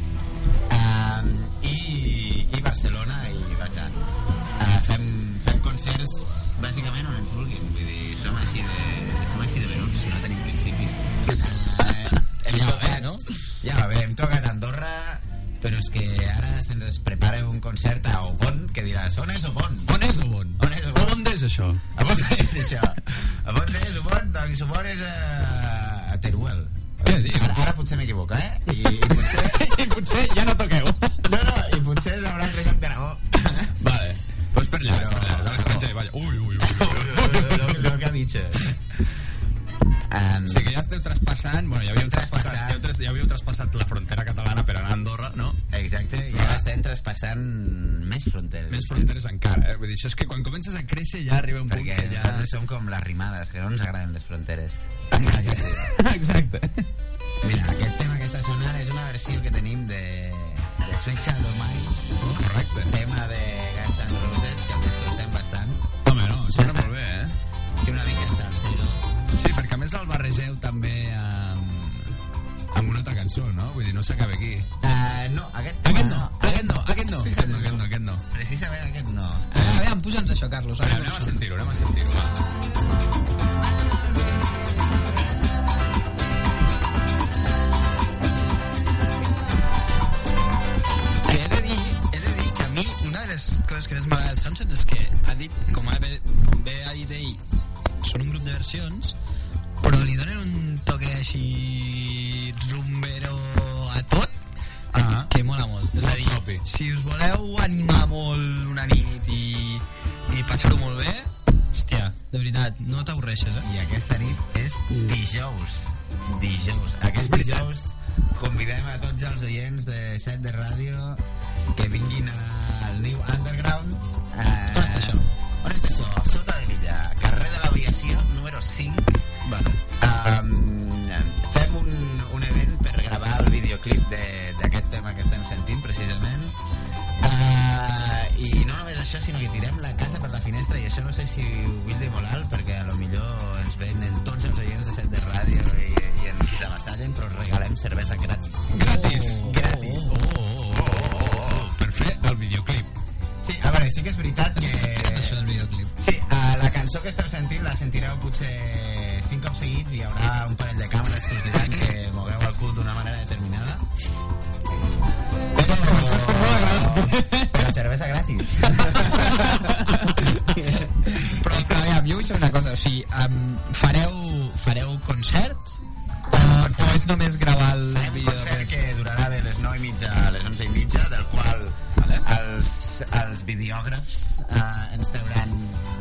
Speaker 5: Um, i, I Barcelona, i vaja, uh, fem, fem concerts bàsicament on ens vulguin, vull dir, som així de, som així de venuts, no tenim principis. Uh,
Speaker 1: Ja
Speaker 5: hem
Speaker 1: va
Speaker 5: tocat-
Speaker 1: bé, eh, no?
Speaker 5: Ja va bé, hem tocat a Andorra, però és que ara se'ns prepara un concert a Obon, que diràs, on és Obon?
Speaker 2: On és el bon?
Speaker 5: On és Obon?
Speaker 2: On és això?
Speaker 5: A on [laughs] és això? A on és Obon? Doncs Obon és a, a Teruel.
Speaker 2: Què dius?
Speaker 5: Ara, ara potser m'equivoco, eh? I, i potser...
Speaker 2: [laughs] I potser ja no toqueu.
Speaker 5: No, no, i potser s'haurà trencat d'Aragó.
Speaker 2: Vale. Doncs per allà, per allà, a l'estranger, vaja. Ui, ui, ui. ui.
Speaker 5: Lo que ha dicho. Um,
Speaker 2: O sigui que ja esteu traspassant, bueno, ja havíeu traspassat, ja, havíeu tras- ja havíeu traspassat la frontera catalana per anar a Andorra, no?
Speaker 5: Exacte, i ara estem traspassant més fronteres.
Speaker 2: Més fronteres encara, eh? Vull dir, això és que quan comences a créixer ja arriba un punt
Speaker 5: Perquè
Speaker 2: que ja...
Speaker 5: nosaltres som com les rimades, que no ens agraden les fronteres.
Speaker 2: [laughs] Exacte.
Speaker 5: Mira, aquest tema que està sonant és una versió que tenim de, de Sweet Child O' Mine.
Speaker 2: Correcte.
Speaker 5: Tema de Guns N' Roses, que el disfrutem bastant.
Speaker 2: Home, no, sona molt bé, eh?
Speaker 5: Sí, una mica salsero.
Speaker 2: Sí, perquè a més el barregeu també amb, amb una altra cançó, no? Vull dir, no s'acaba aquí.
Speaker 5: Uh, no, aquest tema
Speaker 2: Aquest no, aquest no, aquest no, aquest no, aquest no, aquest no.
Speaker 5: Precisament aquest no.
Speaker 1: Ah, aviam, posa'ns això, Carlos.
Speaker 2: Vale, anem a sentir-ho, anem a sentir-ho. va.
Speaker 1: Que he de dir, he de dir que a mi una de les coses que més m'agrada del Sunset és que ha dit, com, ha, bé- com bé ha dit ell, són un grup de versions, però li donen un toque així rumbero a tot,
Speaker 2: Ah.
Speaker 1: que mola molt. És a dir,
Speaker 2: propi.
Speaker 1: si us voleu animar molt una nit i, i passar-ho molt bé, hòstia, de veritat, no t'avorreixes, eh?
Speaker 5: I aquesta nit és dijous. Dijous. Aquest dijous convidem a tots els oients de set de ràdio que vinguin al New Underground. Eh,
Speaker 1: On està això?
Speaker 5: On està això? A sota de l'illa. Carrer de l'Aviació, número 5.
Speaker 2: Vale.
Speaker 5: Um, fem un, un event per gravar el videoclip de- d'aquest tema que estem sentint, precisament. Uh, I no només això, sinó que tirem la casa per la finestra, i això no sé si ho vull dir molt alt, perquè a lo millor ens venen tots els oients de set de ràdio i, i ens avasallen, però regalem cervesa gratis.
Speaker 2: Gratis.
Speaker 5: Gratis.
Speaker 2: Oh, oh, oh, oh, oh, oh, per fer el videoclip.
Speaker 5: Sí, a veure, sí que és veritat
Speaker 1: Què és això
Speaker 5: que...
Speaker 1: del videoclip?
Speaker 5: Sí, a la cançó que esteu sentint la sentireu potser cinc cops seguits i hi haurà un parell de càmeres que us diran que mogueu el cul d'una manera determinada.
Speaker 2: Eh.
Speaker 5: Però, però cervesa gratis.
Speaker 1: Però, però aviam, jo vull saber una cosa, o sigui, um, fareu, fareu concert? O, o és només gravar el
Speaker 5: Farem un concert
Speaker 1: videoclip?
Speaker 5: que durarà de les 9 i mitja a les 11 i mitja, del qual els, els videògrafs eh, ens trauran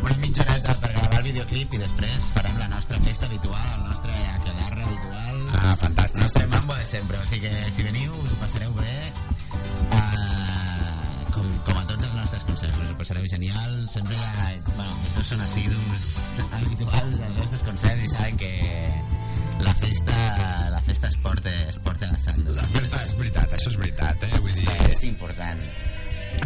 Speaker 5: una mitja horeta per gravar el videoclip i després farem la nostra festa habitual, el nostre aquelarre habitual.
Speaker 6: Ah, fantàstic.
Speaker 5: El nostre mambo de sempre, o sigui que si veniu us ho passareu bé, eh, com, com a tots els nostres concerts, us ho passareu genial, sempre, la, bueno, tots són assidus habituals dels nostres concerts i saben que la festa, la festa es porta, es porta a la sang.
Speaker 6: La veritat és veritat, això és veritat, eh? Vull dir...
Speaker 5: És important.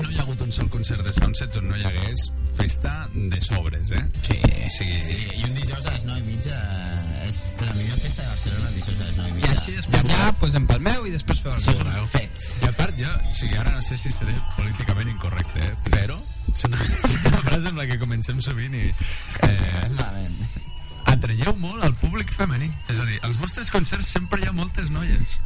Speaker 2: No hi ha hagut un sol concert de Soundsets on no hi hagués festa de sobres, eh?
Speaker 1: Sí.
Speaker 2: O sigui,
Speaker 5: Sí, i un dijous a les 9 i mitja eh, és la millor festa de Barcelona, el dijous a les 9 i
Speaker 1: I
Speaker 5: mitja.
Speaker 1: així després ja, pues, empalmeu i després feu el
Speaker 5: Això és
Speaker 1: seu.
Speaker 5: un fet.
Speaker 2: I a part jo, o sigui, ara no sé si seré políticament incorrecte, eh? però és una, és [laughs] una frase amb la que comencem sovint i... Eh,
Speaker 5: Malament.
Speaker 2: atraieu molt al públic femení. És a dir, als vostres concerts sempre hi ha moltes
Speaker 1: [laughs]
Speaker 2: noies.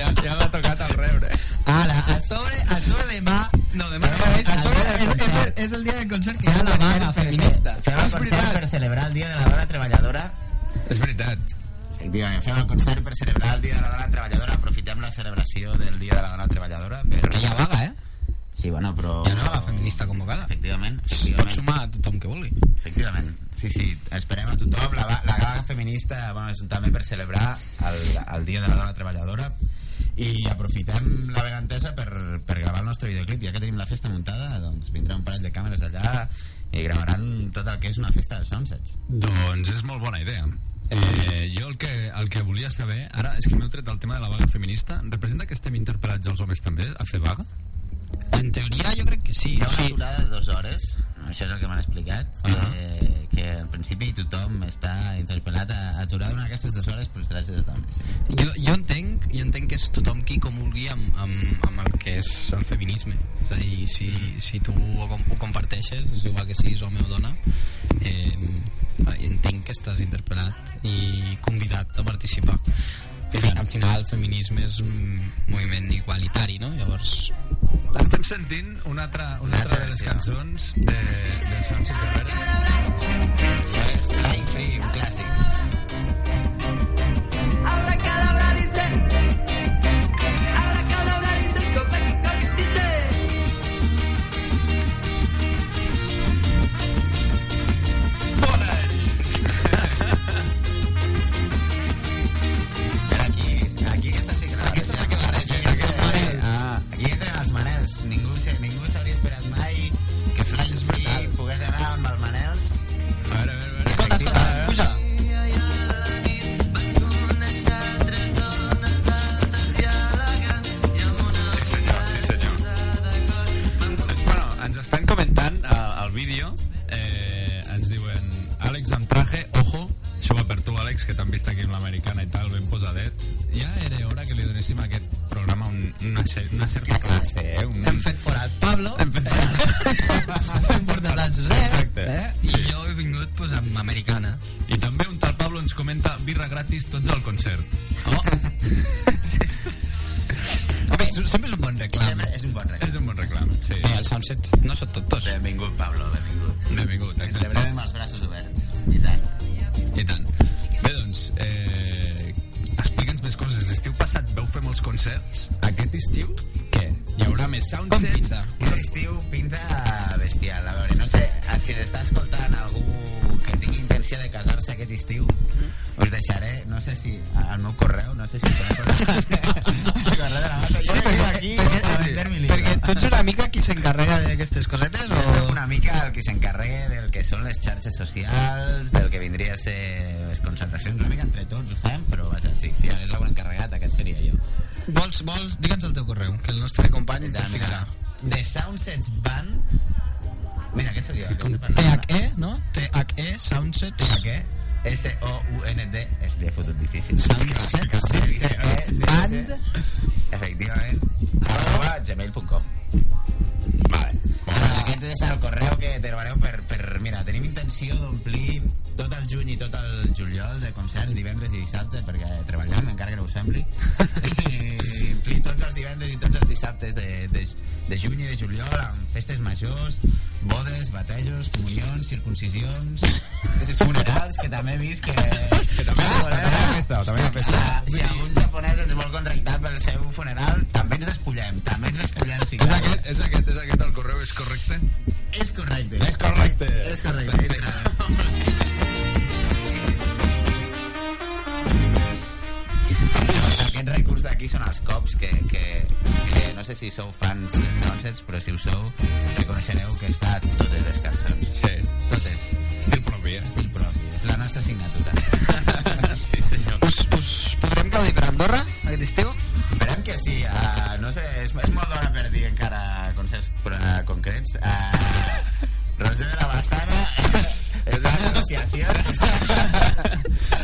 Speaker 2: Ja, ja m'ha tocat el rebre.
Speaker 5: Ah,
Speaker 1: Ara, a sobre, a sobre demà... No, demà no,
Speaker 5: Demà
Speaker 1: és, a
Speaker 5: és-
Speaker 1: sobre,
Speaker 5: demà
Speaker 1: és,
Speaker 5: és-
Speaker 1: és, és, el dia del concert que hi ha la vaga
Speaker 5: Perquè
Speaker 1: feminista.
Speaker 5: Fem el concert per celebrar el Dia de la Dona Treballadora
Speaker 2: És veritat.
Speaker 5: Efectivament, fem el concert per celebrar el Dia de la Dona Treballadora aprofitem la celebració del Dia de la Dona Treballadora per...
Speaker 1: Que hi ha vaga, eh?
Speaker 5: Sí, bueno, però...
Speaker 1: Hi ha una vaga feminista convocada.
Speaker 5: Efectivament,
Speaker 1: Pot
Speaker 5: efectivament.
Speaker 1: sumar a tothom que vulgui.
Speaker 5: Efectivament, sí, sí, esperem a tothom. La, va- la vaga feminista bueno, és un també per celebrar el, el Dia de la Dona Treballadora i aprofitem la vegantesa per, per gravar el nostre videoclip. Ja que tenim la festa muntada, doncs vindrà un parell de càmeres allà i gravaran tot el que és una festa dels Sunsets.
Speaker 2: Doncs és molt bona idea. Eh, jo el que, el que volia saber ara és que m'heu tret el tema de la vaga feminista representa que estem interpel·lats els homes també a fer vaga?
Speaker 1: En teoria jo crec que sí.
Speaker 5: Hi ha
Speaker 1: O
Speaker 5: una
Speaker 1: sigui,
Speaker 5: durada de dues hores, això és el que m'han explicat, uh
Speaker 2: Ah.
Speaker 5: -huh. que, que en principi tothom està interpel·lat a aturar durant aquestes dues hores pels drets de les dones. Sí.
Speaker 1: jo, jo, entenc, jo entenc que és tothom qui comulgui amb, amb, amb el que és el feminisme. És a dir, si, si tu ho, com- ho comparteixes, és igual que siguis home o dona, eh, entenc que estàs interpel·lat i convidat a participar. Al final, el feminisme és un moviment igualitari, no? Llavors,
Speaker 2: Estem sentint una altra, una altra de les cançons de, de Sunset Severa.
Speaker 5: Això és Life, un clàssic.
Speaker 7: Abracadabra dice. Abracadabra dice. Coqui, coqui, dice.
Speaker 5: Però aquí, aquí aquesta sí que la Aquesta és la que barregem. Aquesta sí. Ah, aquí entren els Manels. Ningú, se- ningú s'hauria esperat mai que Fly Free pogués anar amb el Manels.
Speaker 2: A veure, a veure, a veure.
Speaker 5: Escolta, escolta,
Speaker 2: eh?
Speaker 5: puja.
Speaker 2: Sí, senyor, sí, senyor. Eh, Bueno, ens estan comentant eh, el vídeo, eh, ens diuen Àlex amb traje, ojo, això va per tu, Àlex, que t'han vist aquí amb l'americana i tal, ben posadet. Ja era hora que li donéssim a aquest programa un, una, cer- una certa classe, eh? Un...
Speaker 1: hem fet forat Pablo, hem fet
Speaker 5: Eh.
Speaker 2: [laughs]
Speaker 1: forat, hem portat el Josep,
Speaker 2: Exacte.
Speaker 1: eh? i jo he vingut pues, amb [laughs] americana.
Speaker 2: I també un tal Pablo ens comenta birra gratis tots al concert.
Speaker 1: Oh. Home, és- sempre és un bon reclam. eh?
Speaker 5: Sempre és
Speaker 2: És
Speaker 5: un bon record.
Speaker 2: un bon reclam, sí.
Speaker 1: Bé, els Sunsets Eh, no són tot tots.
Speaker 5: Benvingut, Pablo, benvingut.
Speaker 2: Benvingut,
Speaker 5: Ens
Speaker 2: exacte.
Speaker 5: celebrem amb els braços oberts. I tant.
Speaker 2: I tant. Bé, doncs, eh, explica'ns més coses. L'estiu passat vau fer molts concerts. Aquest estiu, què? Hi haurà més
Speaker 1: [laughs]
Speaker 2: soundsets?
Speaker 1: pinta?
Speaker 5: Aquest estiu pinta bestial. A veure, no sé, eh, si l'està escoltant algú que tingui intenció de casar-se aquest estiu,
Speaker 1: Mm-hmm.
Speaker 5: us deixaré, no sé si, al meu correu, no sé si... el correu de la Marta. Jo
Speaker 1: Sí,
Speaker 5: he
Speaker 1: perquè-
Speaker 5: venido aquí
Speaker 1: perquè-
Speaker 5: a
Speaker 1: sí,
Speaker 5: vender mi libro.
Speaker 1: perquè tu ets una mica qui s'encarrega d'aquestes cosetes
Speaker 5: Jo soc
Speaker 1: o...
Speaker 5: una mica el que s'encarrega del que són les xarxes socials, del que vindria a ser les concentracions, una mica entre tots ho fem, però vaja, sí, si hi hagués algun encarregat, aquest seria jo.
Speaker 1: Vols, vols, digue'ns el teu correu, que el nostre company ens el ficarà.
Speaker 5: The Soundsets Band... Mira, aquest sóc jo. aquest parla.
Speaker 1: THE, E, no? THE, Soundset.
Speaker 5: Què? S-O-U-N-D és de fotut difícil.
Speaker 1: Soundset.
Speaker 5: Band. Efectivament. Arroba gmail.com Vale. Ah, Aquest és el correu que trobareu per, per... Mira, tenim intenció d'omplir tot el juny i tot el juliol de concerts, divendres i dissabte, perquè treballem, encara que no ho
Speaker 6: [laughs]
Speaker 5: sembli. I omplir tots els divendres i tots els dissabtes de, de, de juny i de juliol amb festes majors, bodes, batejos, comunions, circuncisions, funerals, que també he vist que... que també
Speaker 6: Ah, també hi ha festa, també hi ha festa.
Speaker 5: Ah, si algun japonès ens vol contractar pel seu funeral, també ens despullem, també ens despullem. Si
Speaker 2: És aquest, és aquest, és aquest, el correu és correcte?
Speaker 5: És correcte.
Speaker 6: És correcte.
Speaker 5: És correcte. Aquest recurs d'aquí són els cops que, que, que no sé si sou fans de Soundsets, però si ho sou, reconeixereu que està a totes les cançons.
Speaker 2: Sí.
Speaker 5: Totes.
Speaker 2: Estil propi, eh?
Speaker 5: Estil propi. És la nostra signatura.
Speaker 2: Ah, Sí, senyor.
Speaker 1: Us, us podrem gaudir per Andorra aquest estiu?
Speaker 5: Esperem que sí. Uh, no sé, és, és molt d'hora per dir encara concerts uh, concrets. Uh, Roser de la Bassana eh, està en negociacions.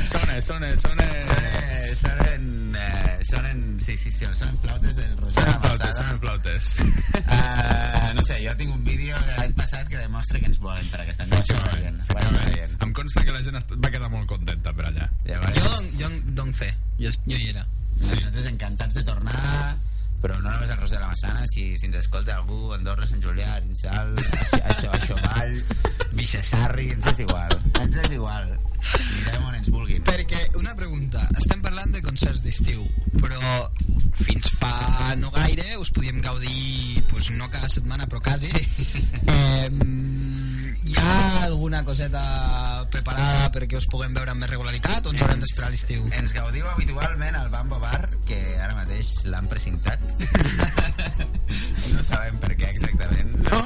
Speaker 2: Sona, sona, sona...
Speaker 5: Són, eh, són en... Eh, són en... Sí, sí, sí, són en flautes del Roser de la
Speaker 2: Sonen
Speaker 5: Bassana.
Speaker 2: flautes, sonen flautes.
Speaker 5: Eh, no sé, jo tinc un vídeo de l'any passat que demostra que ens volen per aquesta noche. Ho
Speaker 2: Efectivament,
Speaker 5: veient, ho
Speaker 2: efectivament.
Speaker 5: veient.
Speaker 2: Em consta que la gent est- va quedar molt contenta per allà.
Speaker 5: Llavors,
Speaker 1: Jo, jo en dono fe. Jo, jo hi era.
Speaker 5: nosaltres encantats de tornar però no només al Ros de la Massana, si, si ens escolta algú, Andorra, Sant Julià, Arinsal, això, això, això, Vall, Vixassarri, ens és igual, ens és igual, anirem on ens vulguin.
Speaker 1: Perquè, una pregunta, estem parlant de concerts d'estiu, però fins fa no gaire us podíem gaudir, pues, no cada setmana, però quasi. Eh, hi ha alguna coseta preparada perquè us puguem veure amb més regularitat o ens haurem d'esperar a l'estiu?
Speaker 5: Ens gaudiu habitualment al Bamba Bar, que ara mateix l'han precintat. no sabem per què exactament. No.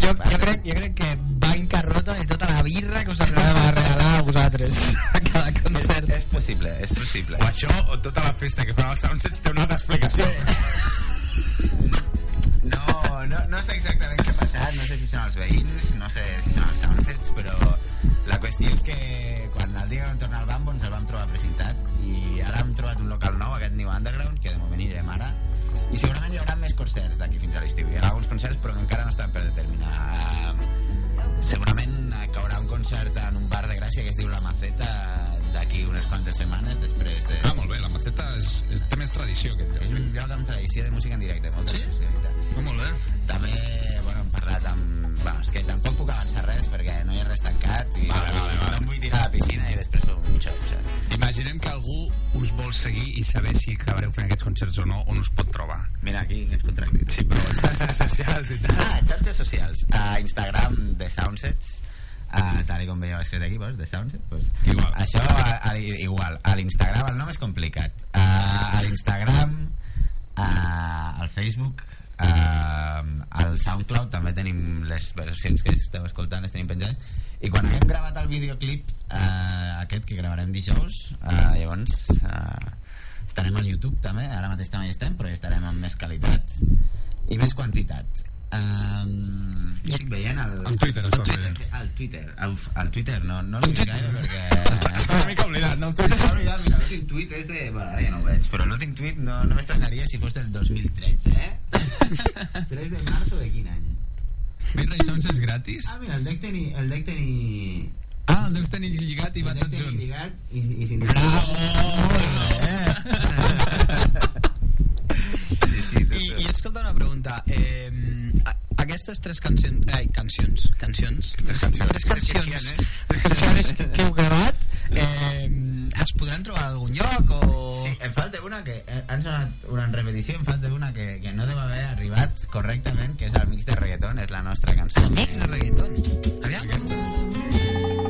Speaker 1: Jo,
Speaker 5: que
Speaker 1: jo,
Speaker 5: passen.
Speaker 1: crec, jo crec que va en carrota de tota la birra que us arribava a regalar a vosaltres a cada
Speaker 5: És,
Speaker 1: concert.
Speaker 5: és possible, és possible.
Speaker 2: O això, o tota la festa que fan els Soundsets té una altra explicació.
Speaker 5: No, no, no sé exactament què ha passat, no sé si són els veïns, no sé si són els soundsets, però la qüestió és que quan el dia que vam tornar al Bambo ens el vam trobar precintat i ara hem trobat un local nou, aquest New Underground, que de moment anirem ara, i segurament hi haurà més concerts d'aquí fins a l'estiu. Hi haurà alguns concerts però que encara no estan per determinar. Segurament caurà un concert en un bar de Gràcia que es diu La Maceta d'aquí unes quantes setmanes després de...
Speaker 2: Ah, molt bé, la maceta és, és, té més tradició que
Speaker 5: És
Speaker 2: teu.
Speaker 5: un lloc amb tradició de música en directe, molta sí? tradició,
Speaker 1: Ah, molt bé.
Speaker 5: també bueno, hem parlat amb... Bueno, és que tampoc puc avançar res perquè no hi ha res tancat i
Speaker 2: Vale, vale, vale.
Speaker 5: no em vull tirar a la piscina i després fer un xou, saps?
Speaker 2: Imaginem que algú us vol seguir i saber si acabareu fent aquests concerts o no, on us pot trobar.
Speaker 5: Mira, aquí ens contractin.
Speaker 2: Sí, però en xarxes socials i tal.
Speaker 5: Ah, xarxes socials. A Instagram de Soundsets, Uh, tal i com veieu escrit aquí, veus, de Soundsets pues,
Speaker 2: Igual.
Speaker 5: això a, a, igual a l'Instagram el nom és complicat uh, a l'Instagram uh, al Facebook uh, al Soundcloud també tenim les versions que esteu escoltant les tenim penjades i quan haguem gravat el videoclip uh, aquest que gravarem dijous uh, llavors uh, estarem al YouTube també ara mateix també hi estem però hi estarem amb més qualitat i més quantitat um, estic veient el,
Speaker 2: Al Twitter
Speaker 5: el
Speaker 2: estàs
Speaker 5: Twitter,
Speaker 2: veient.
Speaker 5: al Twitter, uf, al Twitter no, no l'estic gaire perquè... [laughs]
Speaker 2: Està una mica oblidat, no?
Speaker 5: Ara ja, mira, l'últim tuit és de... Bueno, ara ja no ho veig, però l'últim tuit no, no m'estranyaria si fos del 2013, eh? [laughs] 3 de marzo de quin any?
Speaker 2: Birra i Soundsets gratis?
Speaker 5: Ah, mira, el dec tenir... El dec tenir...
Speaker 2: Ah, el deus tenir lligat i va
Speaker 5: el dec
Speaker 2: tot
Speaker 5: tenir
Speaker 2: junt.
Speaker 5: lligat i, i sin... Sí, sí, tot,
Speaker 1: I, I
Speaker 5: tot.
Speaker 1: escolta una pregunta. Eh, a- aquestes tres cancions... Ai, cancions. Cancions.
Speaker 2: Tres cancions.
Speaker 1: Tres cancions.
Speaker 5: ¿eh?
Speaker 1: Tres canciones que, que heu gravat eh, es podran trobar a algun lloc o...
Speaker 5: Sí, em falta una que... eh, Han sonat una en repetició, em falta una que, que no deu haver arribat correctament, que és el mix de reggaeton, és la nostra cançó.
Speaker 1: El mix de reggaeton. Aviam.
Speaker 2: Aquesta.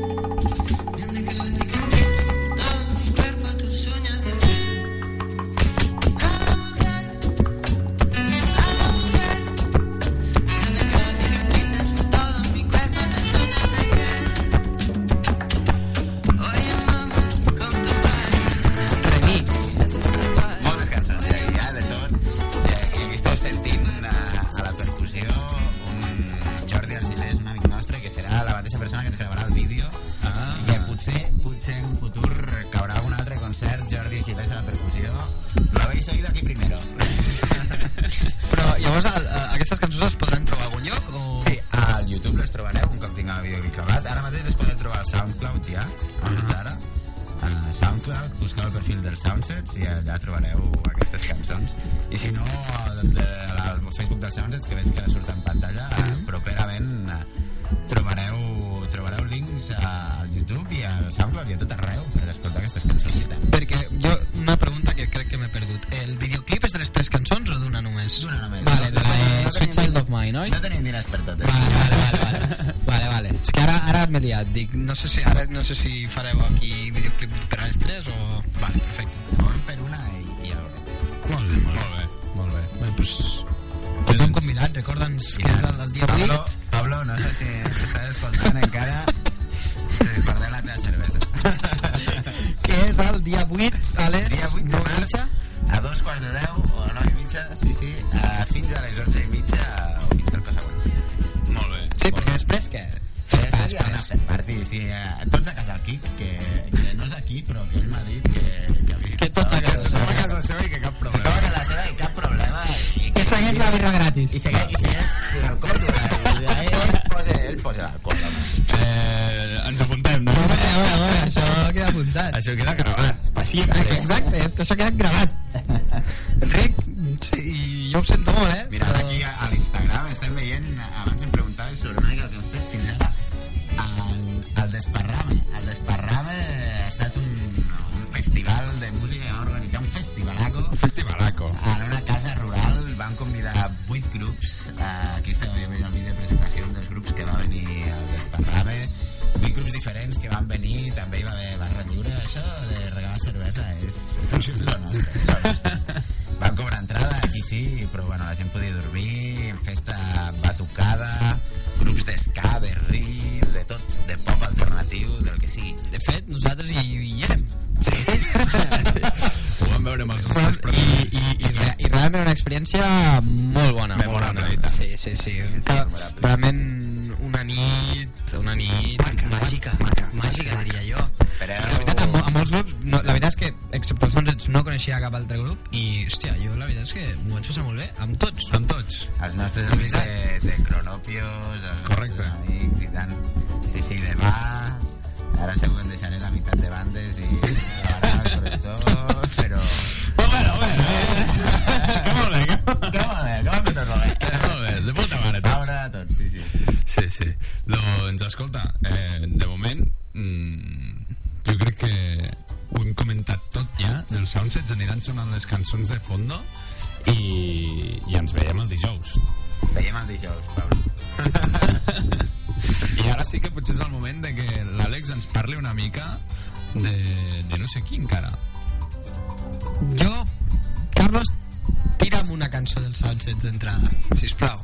Speaker 1: Remix.
Speaker 5: moltes cançons hi ha, hi ha de tot i aquí, aquí esteu sentint a, a la percussió un Jordi Arcilés, un amic nostre que serà la mateixa persona que ens gravarà el vídeo
Speaker 2: Ah.
Speaker 5: i que potser, potser en futur caurà un altre concert Jordi Arcilés a la percussió lo habéis oído aquí primero
Speaker 1: Però llavors a, a, aquestes cançons es podran trobar a algun lloc o...
Speaker 5: Sí, al YouTube les trobareu un cop tingueu el videoclip gravat. Ara mateix les podeu trobar a SoundCloud ja, a hores d'ara. A SoundCloud, busqueu el perfil dels Soundsets i allà trobareu aquestes cançons. I si no, de, de, al Facebook dels Soundsets, que veig que ara surt en pantalla, eh, properament eh, trobareu, trobareu links a, al YouTube i al SoundCloud i a tot arreu per escoltar aquestes cançons i tant.
Speaker 1: Perquè jo, una pregunta que crec que m'he perdut. El videoclip és de les tres cançons o d'una només?
Speaker 5: D'una només.
Speaker 1: Vale, de la
Speaker 5: No, no
Speaker 1: de
Speaker 5: tenim-
Speaker 1: Sweet Child of Mine, oi?
Speaker 5: No tenim diners per tot, eh?
Speaker 1: Vale, vale, vale, vale. Vale, vale. És que ara, ara m'he liat. Dic, no sé si, ara, no sé si fareu aquí videoclip per a les tres o... Vale, perfecte.
Speaker 5: Un [laughs] per una i, i a veure.
Speaker 2: Molt bé, molt bé. Molt bé.
Speaker 1: Bé, doncs... Tothom convidat, recorda'ns que és el, el dia
Speaker 5: Pablo,
Speaker 1: 8.
Speaker 5: Pablo, no sé si ens estàs escoltant encara. Sí, perdó la teva cervesa.
Speaker 1: [laughs]
Speaker 5: [laughs]
Speaker 1: Que és el dia 8 a les
Speaker 5: Dia 8 de
Speaker 1: 9 i
Speaker 5: març,
Speaker 1: mitja.
Speaker 5: a dos quarts de deu, o nou i mitja, sí, sí, a, fins a les onze i mitja, o fins al pas següent.
Speaker 2: Molt bé.
Speaker 1: Sí, perquè després què? Festa,
Speaker 5: Hi ha Ah, una
Speaker 1: després.
Speaker 5: after party, sí, eh, tots a casa al Quic, que, que no és aquí, però que ell m'ha dit que... Que, que,
Speaker 1: Que tot a casa
Speaker 5: que
Speaker 1: seva.
Speaker 5: Tothom a casa
Speaker 2: seva i que cap
Speaker 5: tothom a casa seva i cap problema. I,
Speaker 1: Que segueix la birra gratis.
Speaker 5: i segueix, i segueix l'alcohol. [laughs] eh, i Ell posa, ell posa l'alcohol. home.
Speaker 2: Eh, ens apuntem, no?
Speaker 1: A veure, a veure, a veure, això queda apuntat. [laughs]
Speaker 2: Això queda gravat. Així.
Speaker 1: Exacte, és que això ha quedat gravat. Enric, Sí, i jo ho sento molt, eh?
Speaker 5: Mira,
Speaker 1: però-
Speaker 5: aquí a, a l'Instagram estem veient, abans em preguntaves sobre una mica el que hem fet fins ara, el, el Desparrame. El Desparrame ha estat un, un festival de música que va organitzar un festivalaco
Speaker 2: [laughs]
Speaker 6: Festivalaco.
Speaker 5: en una casa rural van convidar vuit grups eh, aquí estava jo veient el vídeo de presentació un dels grups que va venir al Desparrame vuit grups diferents que van venir també hi va haver barra lliure això de regalar cervesa és, és lo nostre, lo nostre. van cobrar entrada aquí sí però bueno la gent podia dormir festa batucada grups d'esca, de ri de tot, de pop alternatiu del que sigui
Speaker 3: De fet, nosaltres hi, hi érem.
Speaker 1: [laughs]
Speaker 2: Ho vam veure amb els nostres
Speaker 1: I,
Speaker 2: propis.
Speaker 1: i, i, re- i realment una experiència molt bona, molt
Speaker 2: Memorable,
Speaker 1: bona.
Speaker 2: i tant.
Speaker 1: Sí, sí, sí. Que, realment una nit, una nit
Speaker 3: Màgica, màgica, diria jo.
Speaker 5: però...
Speaker 1: La veritat, a, mo a molts grups, no, la veritat és que, excepte els Monsets, no coneixia cap altre grup i, hòstia, jo la veritat és que m'ho vaig passar molt bé, amb tots.
Speaker 2: Amb tots.
Speaker 5: Els nostres amics de, de cronopios, els
Speaker 2: Correcte.
Speaker 5: nostres amics i tant. Sí, sí, de va... Ara segur que em deixaré la meitat de bandes i ara el corrector, però...
Speaker 2: Bueno, bueno, bueno. eh? Que [laughs] molt bé, que molt bé.
Speaker 5: Que molt bé, que molt bé tot molt bé.
Speaker 2: Que molt bé, de puta mare tots.
Speaker 5: Obra de tots, sí, sí.
Speaker 2: Sí, sí. Doncs, escolta, eh, de moment, mm, jo crec que ho hem comentat tot ja, dels soundsets aniran sonant les cançons de fondo i, i ens veiem el dijous.
Speaker 5: Ens veiem el dijous, Pablo.
Speaker 2: I ara sí que potser és el moment de que l'Àlex ens parli una mica de, de no sé qui encara.
Speaker 1: Jo, Carlos, tira'm una cançó dels Sunsets d'entrada, sisplau.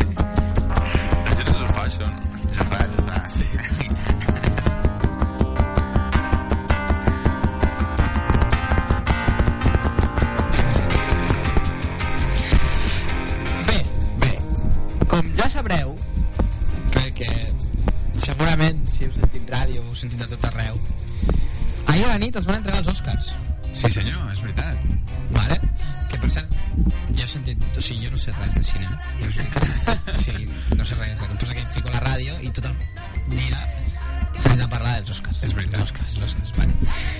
Speaker 2: La gent ens ho fa, això, no?
Speaker 5: Ens ho fa, ens ho fa. Sí.
Speaker 1: Bé, bé, com ja sabreu, perquè segurament si heu sentit ràdio heu sentit a tot arreu, ahir a la nit es van entregar els Oscars,
Speaker 2: Sí, senyor, és veritat.
Speaker 1: vale? que per cert, jo he sentit, o sigui, jo no sé res de cine, eh? Jo sé- [laughs] sí, no sé res, em poso que fico a la ràdio i tot el dia s'ha de parlar dels Oscars.
Speaker 2: És veritat. Ah,
Speaker 1: Els Oscars, els Oscars, vale.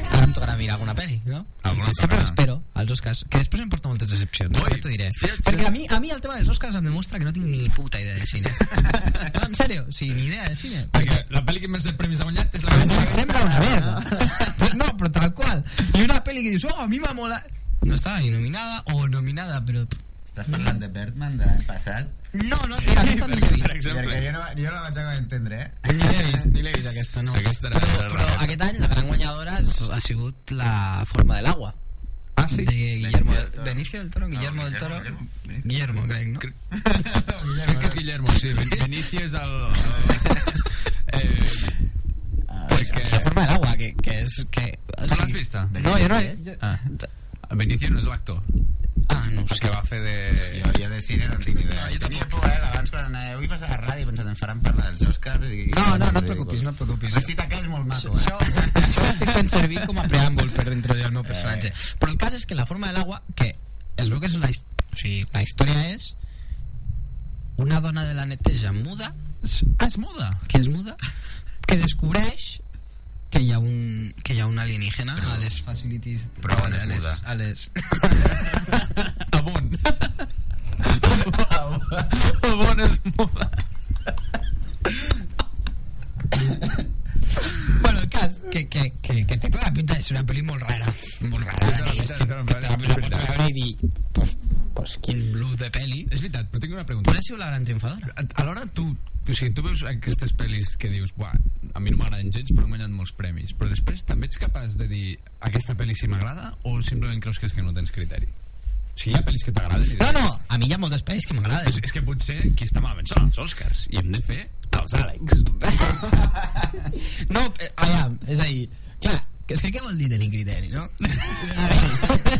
Speaker 1: Ara em tocarà mirar alguna pel·li, no?
Speaker 2: Alguna
Speaker 1: Sempre
Speaker 2: tocarà.
Speaker 1: espero, als Oscars, que després em porta moltes decepcions,
Speaker 2: Ui,
Speaker 1: ja t'ho diré.
Speaker 2: sí, sí.
Speaker 1: Perquè a mi, a mi el tema dels Oscars em demostra que no tinc ni puta idea de
Speaker 2: [laughs]
Speaker 1: cine. no, en sèrio, o sigui, ni idea de cine.
Speaker 2: Perquè la pel·li que més premis ha guanyat és la que
Speaker 1: Em
Speaker 2: més
Speaker 1: sembla una merda. [laughs] No, però tal qual. I una pel·li que dius, oh, a mi m'ha molat. No estava ni nominada o nominada, però...
Speaker 5: [laughs] Estàs parlant de Birdman de l'any passat?
Speaker 1: No, no, mira, aquesta ni l'he
Speaker 2: Per
Speaker 1: vist.
Speaker 5: Perquè
Speaker 2: exemple.
Speaker 5: jo no, jo no la vaig acabar d'entendre,
Speaker 2: [laughs]
Speaker 5: eh?
Speaker 1: Ni l'he vist, ni l'he vist aquesta, no.
Speaker 2: Aquesta era-
Speaker 1: però,
Speaker 2: era
Speaker 1: però
Speaker 2: rara.
Speaker 1: aquest any la gran guanyadora és- ha sigut la forma de l'aigua.
Speaker 2: Ah, sí?
Speaker 1: De Guillermo
Speaker 5: del Toro.
Speaker 1: Benicio del Toro, Ah, Guillermo del Toro.
Speaker 5: Guillermo,
Speaker 1: Guillermo, crec, no?
Speaker 2: Crec crec que és Guillermo, sí. Ben- Benicio és el... Eh,
Speaker 5: Ah,
Speaker 1: Pues que... La forma del agua, que, que es que...
Speaker 2: ¿Tú
Speaker 1: o
Speaker 2: la has
Speaker 1: sigui-
Speaker 2: visto?
Speaker 1: No, yo no... Yo...
Speaker 2: Ah, Benicio no és l'actor.
Speaker 1: Ah, no ho
Speaker 2: El
Speaker 1: sé.
Speaker 2: que va fer de...
Speaker 5: Jo, jo de cine no en tinc ni idea. Jo tenia por, eh, abans quan anava... Avui passava a ràdio pensant en faran parlar dels Oscars. I...
Speaker 1: No, no, no et preocupis, no et
Speaker 5: El
Speaker 1: preocupis.
Speaker 5: vestit aquell és molt maco, eh?
Speaker 1: Això, això ho estic fent
Speaker 5: [laughs]
Speaker 1: servir com a [laughs] preàmbul Eh. per introduir el meu personatge. Però el cas és que la forma de l'aigua, que es veu que és la, his- o sigui, la història és una dona de la neteja muda,
Speaker 2: Ah, és [laughs] muda.
Speaker 1: que és muda, que descobreix que hi ha un, que hi ha un alienígena a les facilities...
Speaker 5: però on és
Speaker 1: a les,
Speaker 5: muda?
Speaker 1: a les... [laughs]
Speaker 2: A Bon. A Bon és muda.
Speaker 1: Bueno, el cas, que, que, que, que té tota la pinta de ser una pel·li molt rara. Molt rara.
Speaker 2: Té tota la
Speaker 1: I és
Speaker 2: pinta de
Speaker 1: que
Speaker 2: ser una
Speaker 1: la
Speaker 2: pel·li
Speaker 1: pots
Speaker 2: molt rara.
Speaker 1: veure i dir... Pues, pues quin blues de pel·li.
Speaker 2: És veritat, però tinc una pregunta.
Speaker 1: Però ha sigut la gran triomfadora.
Speaker 2: A- Alhora tu, o sigui, tu veus aquestes pel·lis que dius, buah, a mi no m'agraden gens, però han guanyat molts premis. Però després també ets capaç de dir, aquesta pel·li sí m'agrada o simplement creus que és que no tens criteri? O sigui, hi ha pel·lis que t'agraden. i
Speaker 1: No, no, a mi hi ha moltes pel·lis que m'agraden.
Speaker 2: És, és que potser qui està malament són els Oscars i hem de
Speaker 1: [laughs]
Speaker 2: fer els Àlex.
Speaker 1: No, eh, allà, és a dir, clar, Que és que què vol dir tenir criteri, no?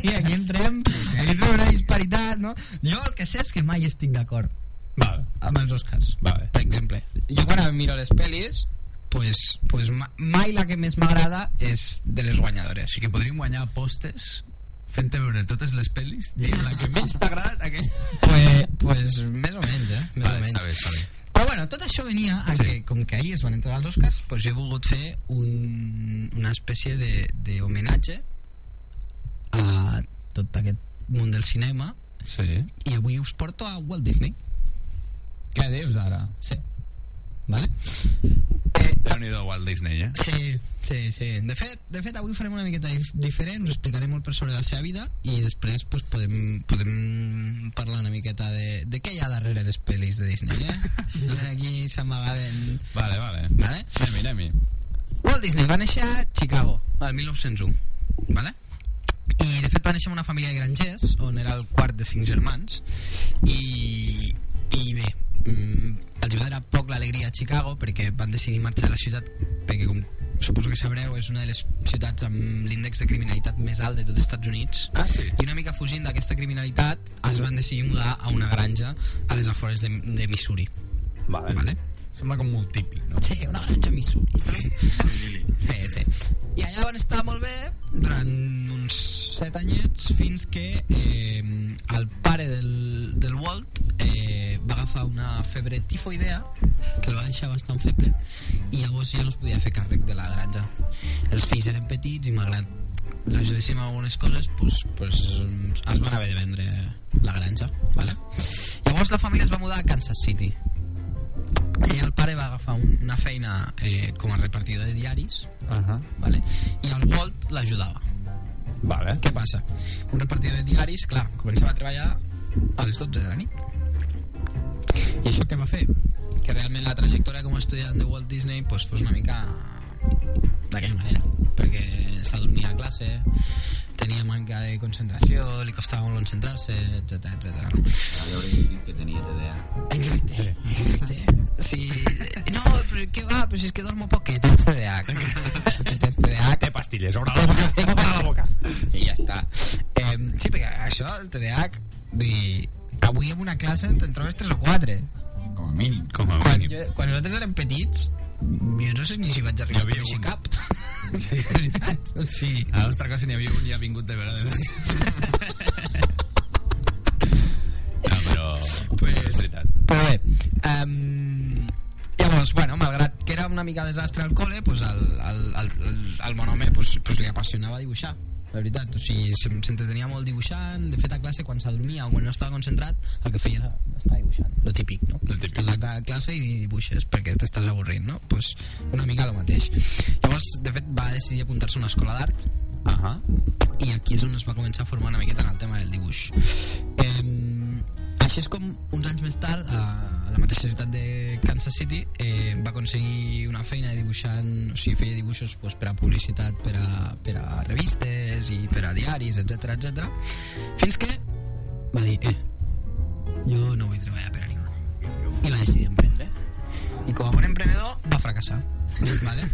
Speaker 1: I aquí entrem, aquí entrem una disparitat, no? Jo el que sé és que mai estic d'acord
Speaker 2: Vale.
Speaker 1: amb els Oscars.
Speaker 2: Vale.
Speaker 1: Per exemple, jo quan em miro les pel·lis, pues, pues ma- mai la que més m'agrada és de les guanyadores.
Speaker 2: Així que podríem guanyar apostes fent-te veure totes les pel·lis i la que menys t'ha agradat aquella...
Speaker 1: Pues, pues més o menys, eh? [laughs] Més o
Speaker 2: Vale,
Speaker 1: menys.
Speaker 2: està bé, està bé.
Speaker 1: Però bueno, tot això venia a
Speaker 2: Sí.
Speaker 1: sí. que, com que ahir es van entregar els Oscars, doncs he volgut fer un, una espècie de, de homenatge a tot aquest món del cinema
Speaker 2: Sí.
Speaker 1: i avui us porto a Walt Disney.
Speaker 3: Què dius ara?
Speaker 1: Sí. Eh, Vale?
Speaker 2: Déu-n'hi-do Walt Disney, eh?
Speaker 1: Sí, sí, sí. De fet, de fet, avui farem una miqueta dif- diferent, us explicaré molt per sobre la seva vida i després pues, podem, podem parlar una miqueta de, de què hi ha darrere les pel·lis de Disney, eh? Aquí s'amagaven...
Speaker 2: Vale, vale.
Speaker 1: Vale?
Speaker 2: Anem-hi, anem-hi.
Speaker 1: Walt Disney va néixer a Chicago, al 1901, vale? i de fet va néixer en una família de grangers on era el quart de cinc germans i, i bé mm, els va donar poc l'alegria a Chicago perquè van decidir marxar a la ciutat perquè com suposo que sabreu és una de les ciutats amb l'índex de criminalitat més alt de tots els Estats Units
Speaker 2: Ah, sí?
Speaker 1: i una mica fugint d'aquesta criminalitat es van decidir mudar a una granja a les afores de, de Missouri
Speaker 2: Vale.
Speaker 1: vale?
Speaker 2: Sembla com molt típic, no?
Speaker 1: Sí, una granja a Missouri. Sí. sí, sí. I allà van estar molt bé durant uns set anyets fins que eh, el pare del, del Walt eh, va agafar una febre tifoidea que el va deixar bastant feble i llavors ja no es podia fer càrrec de la granja. Els fills eren petits i malgrat l'ajudéssim en algunes coses pues, pues, es van haver de vendre la granja vale? llavors la família es va mudar a Kansas City i el pare va agafar un- una feina eh, com a repartidor de diaris
Speaker 2: Uh -huh.
Speaker 1: vale? i el Walt l'ajudava
Speaker 2: Vale.
Speaker 1: què passa? un repartidor de diaris, clar, començava a treballar a les 12 de la nit i això què va fer? que realment la trajectòria com a estudiant de Walt Disney pues, fos una mica d'aquella manera perquè s'adormia a classe tenia manca de concentració li costava molt concentrar-se etcètera, etcètera no?
Speaker 5: que tenia TDA.
Speaker 1: Exacte. Exacte. Sí. No, però què va? Però si és que dormo poc, que tens TDAH. Que tens TDAH. Té
Speaker 2: pastilles, obre
Speaker 1: la boca, té obre la boca. I ja està. Eh, sí, perquè això, el TDAH, vull dir, avui en una classe te'n trobes 3 o 4.
Speaker 5: Com a mínim.
Speaker 2: Com a
Speaker 1: Quan,
Speaker 2: mínim.
Speaker 1: jo, quan nosaltres érem petits, jo no sé ni si vaig
Speaker 2: N'hi
Speaker 1: arribar a
Speaker 2: havia
Speaker 1: conèixer
Speaker 2: un.
Speaker 1: cap. [laughs]
Speaker 2: Sí.
Speaker 1: De veritat. O sigui,
Speaker 2: A la nostra classe n'hi havia un i ha vingut de vegades. no, però... Pues... És veritat.
Speaker 1: Però bé, um, llavors, bueno, malgrat que era una mica desastre al col·le, pues el, el, el, el, el bon home pues, pues li apassionava dibuixar, la veritat. O sigui, s'en- s'entretenia molt dibuixant. De fet, a classe, quan s'adormia o quan no estava concentrat, el que feia era estar dibuixant. Lo típic, no?
Speaker 2: Lo típic.
Speaker 1: Estàs a ca- classe i dibuixes perquè t'estàs avorrint, no? Pues una mica el mateix. Llavors, de fet, va decidir apuntar-se a una escola d'art
Speaker 2: Ahà.
Speaker 1: i aquí és on es va començar a formar una miqueta en el tema del dibuix eh, així és com uns anys més tard a la mateixa ciutat de Kansas City eh, va aconseguir una feina de dibuixant o sigui, feia dibuixos pues, per a publicitat per a, per a revistes i per a diaris, etc etc. fins que va dir eh, jo no vull treballar per a ningú i va decidir emprendre i com a bon emprenedor va fracassar vale?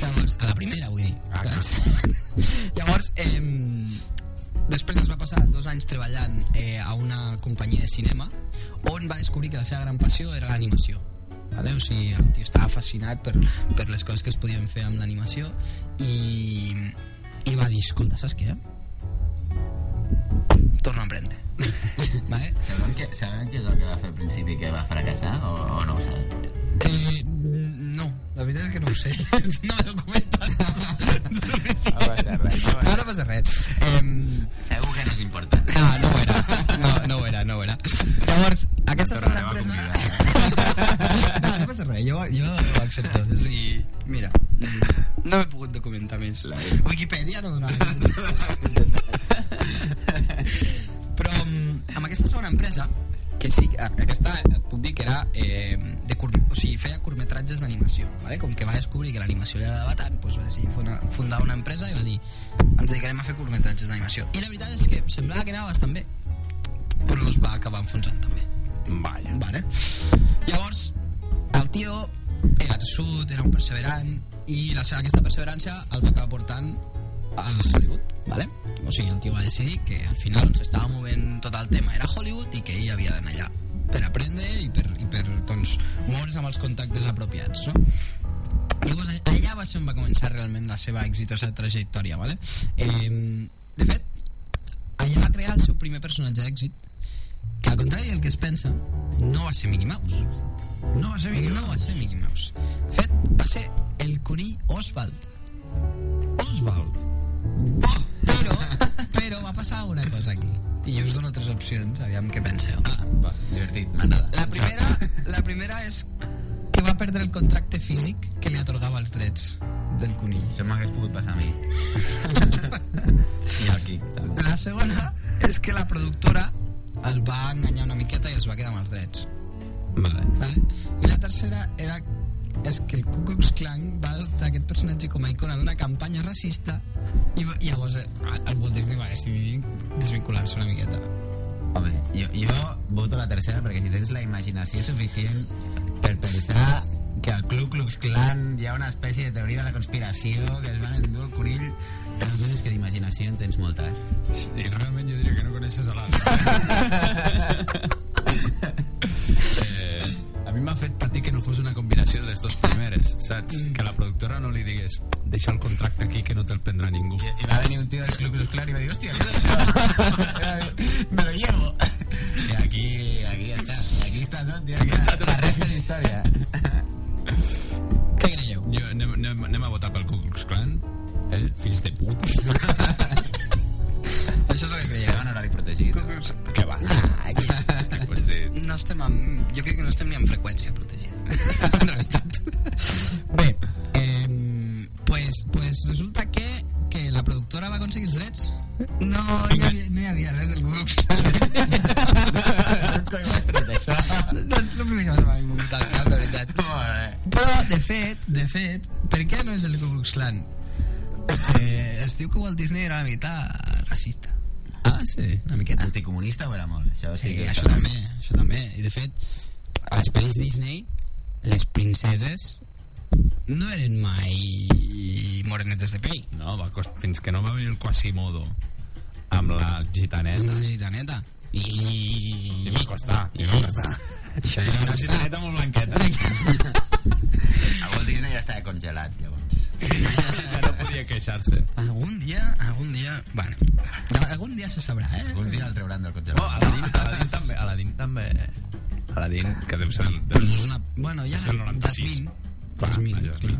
Speaker 1: llavors, a la primera vull dir saps? [laughs] llavors eh, després es va passar dos anys treballant eh, a una companyia de cinema on va descobrir que la seva gran passió era l'animació vale? o sigui, el tio estava fascinat per, per les coses que es podien fer amb l'animació i, i va dir, escolta, saps què? torno a emprendre [laughs] vale?
Speaker 5: Sabem què, sabem què és el que va fer al principi que va fracassar o, o no ho sabem?
Speaker 1: Eh, no, la veritat és que no ho sé. [laughs] No me [laughs] documenta. Suficient.
Speaker 5: No passa res, no passa res.
Speaker 1: No, no passa res. Eh,
Speaker 5: Segur que no és important.
Speaker 1: no, no ho era. No, no ho era, no ho era. Llavors, aquesta segona
Speaker 5: tornarem a
Speaker 1: empresa... No, no passa res, jo, jo ho accepto. O sigui, mira, no m'he pogut documentar més. Wikipedia no donava Però mm, amb aquesta segona empresa que sí, a- aquesta et puc dir que era eh, de cur... o sigui, feia curtmetratges d'animació vale? com que va descobrir que l'animació li agradava tant doncs va decidir fer una, fundar una empresa i va dir ens dedicarem a fer curtmetratges d'animació i la veritat és que semblava que anava bastant bé però es va acabar enfonsant també
Speaker 2: Vaja.
Speaker 1: Vale. Llavors, el tio era tossut, era un perseverant i la seva, aquesta perseverança el va acabar portant a Hollywood ¿vale? o sigui, el tio va decidir que al final on s'estava movent tot el tema era Hollywood i que ell havia d'anar allà per aprendre i per, i per doncs, moure's amb els contactes apropiats no? Llavors, allà va ser on va començar realment la seva exitosa trajectòria, ¿vale? Eh, de fet, allà va crear el seu primer personatge d'èxit, que al contrari del que es pensa, no va ser Mickey Mouse. No va ser Mickey Mouse. No va ser Mickey Mouse. De fet, va ser el conill Oswald.
Speaker 2: Oswald.
Speaker 1: Però, però va passar alguna cosa aquí. I jo us dono tres opcions, aviam què penseu.
Speaker 5: Divertit, m'agrada.
Speaker 1: La primera, la primera és que va perdre el contracte físic que li atorgava els drets del conill.
Speaker 5: Això m'hagués pogut passar a mi. [laughs] I aquí, també.
Speaker 1: La segona és que la productora el va enganyar una miqueta i es va quedar amb els drets.
Speaker 2: Vale.
Speaker 1: Vale? I la tercera era és que el Ku Klux Klan va adoptar aquest personatge com a icona d'una campanya racista i va- i llavors eh, el Walt Disney va decidir desvincular-se una miqueta.
Speaker 5: Home, jo, jo voto la tercera perquè si tens la imaginació suficient per pensar que al Ku Klux Klan hi ha una espècie de teoria de la conspiració que es van endur el conill la cosa és que d'imaginació en tens molta eh?
Speaker 2: I realment jo diria que no coneixes a l'altre. eh, a mi m'ha fet patir que no fos una combinació de les dues primeres, saps? Que la productora no li digués deixa el contracte aquí que no te'l prendrà ningú.
Speaker 5: I, I va venir un tio del Club Club Clan i va dir, hòstia, què és això? Me lo llevo. [laughs] I aquí, aquí està, aquí està tot, tio. Aquí està tot. La resta és [laughs] història.
Speaker 1: Què creieu?
Speaker 2: Jo, anem, anem, anem a votar pel Ku Klux Klan. El fills de puta.
Speaker 1: Això és el que
Speaker 5: Que
Speaker 1: creieu.
Speaker 5: va en horari protegit.
Speaker 1: [laughs] Que va. [laughs]
Speaker 2: Què pots dir?
Speaker 1: No estem amb... Jo crec que no estem ni en freqüència protegida. [laughs] en realitat. Bé, eh, pues, pues resulta que, que la productora va aconseguir els drets. No, hi havia, no hi havia res del Google Cloud.
Speaker 5: Com has tret això?
Speaker 1: no és el primer que m'ha vingut al cap, de veritat.
Speaker 5: [laughs] Molt bé.
Speaker 1: Però, de fet, de fet, per què no és el Ku Klux Klan? Eh, es diu que Walt Disney era una mica racista.
Speaker 2: Ah, sí.
Speaker 1: Una miqueta.
Speaker 5: Anticomunista ho era molt. Això
Speaker 1: Sí,
Speaker 5: que-
Speaker 1: això també, això també. I de fet, a les pel·lis Disney, les princeses no eren mai morenetes de pell.
Speaker 2: No, va cost... fins que no va venir el Quasimodo amb la
Speaker 1: Era
Speaker 2: gitaneta.
Speaker 1: una gitaneta. I...
Speaker 2: I va costar, i va costar.
Speaker 1: Això
Speaker 2: Era
Speaker 1: era
Speaker 2: una gitaneta molt
Speaker 1: [laughs]
Speaker 2: blanqueta.
Speaker 5: A Walt Disney ja estava congelat, llavors.
Speaker 2: Ja no podia queixar-se.
Speaker 1: Algun dia, algun dia... Bueno, algun dia se sabrà, eh?
Speaker 5: Un dia el trauran del
Speaker 2: No,
Speaker 5: congelat.
Speaker 2: Aladín, Aladín també, Aladín també. Aladín, que deu ser... el-
Speaker 1: Però no és una... Bueno, ja...
Speaker 2: És el 96.
Speaker 1: Jasmine.
Speaker 2: Clar,
Speaker 1: Jasmine,
Speaker 2: vaja,
Speaker 1: clar.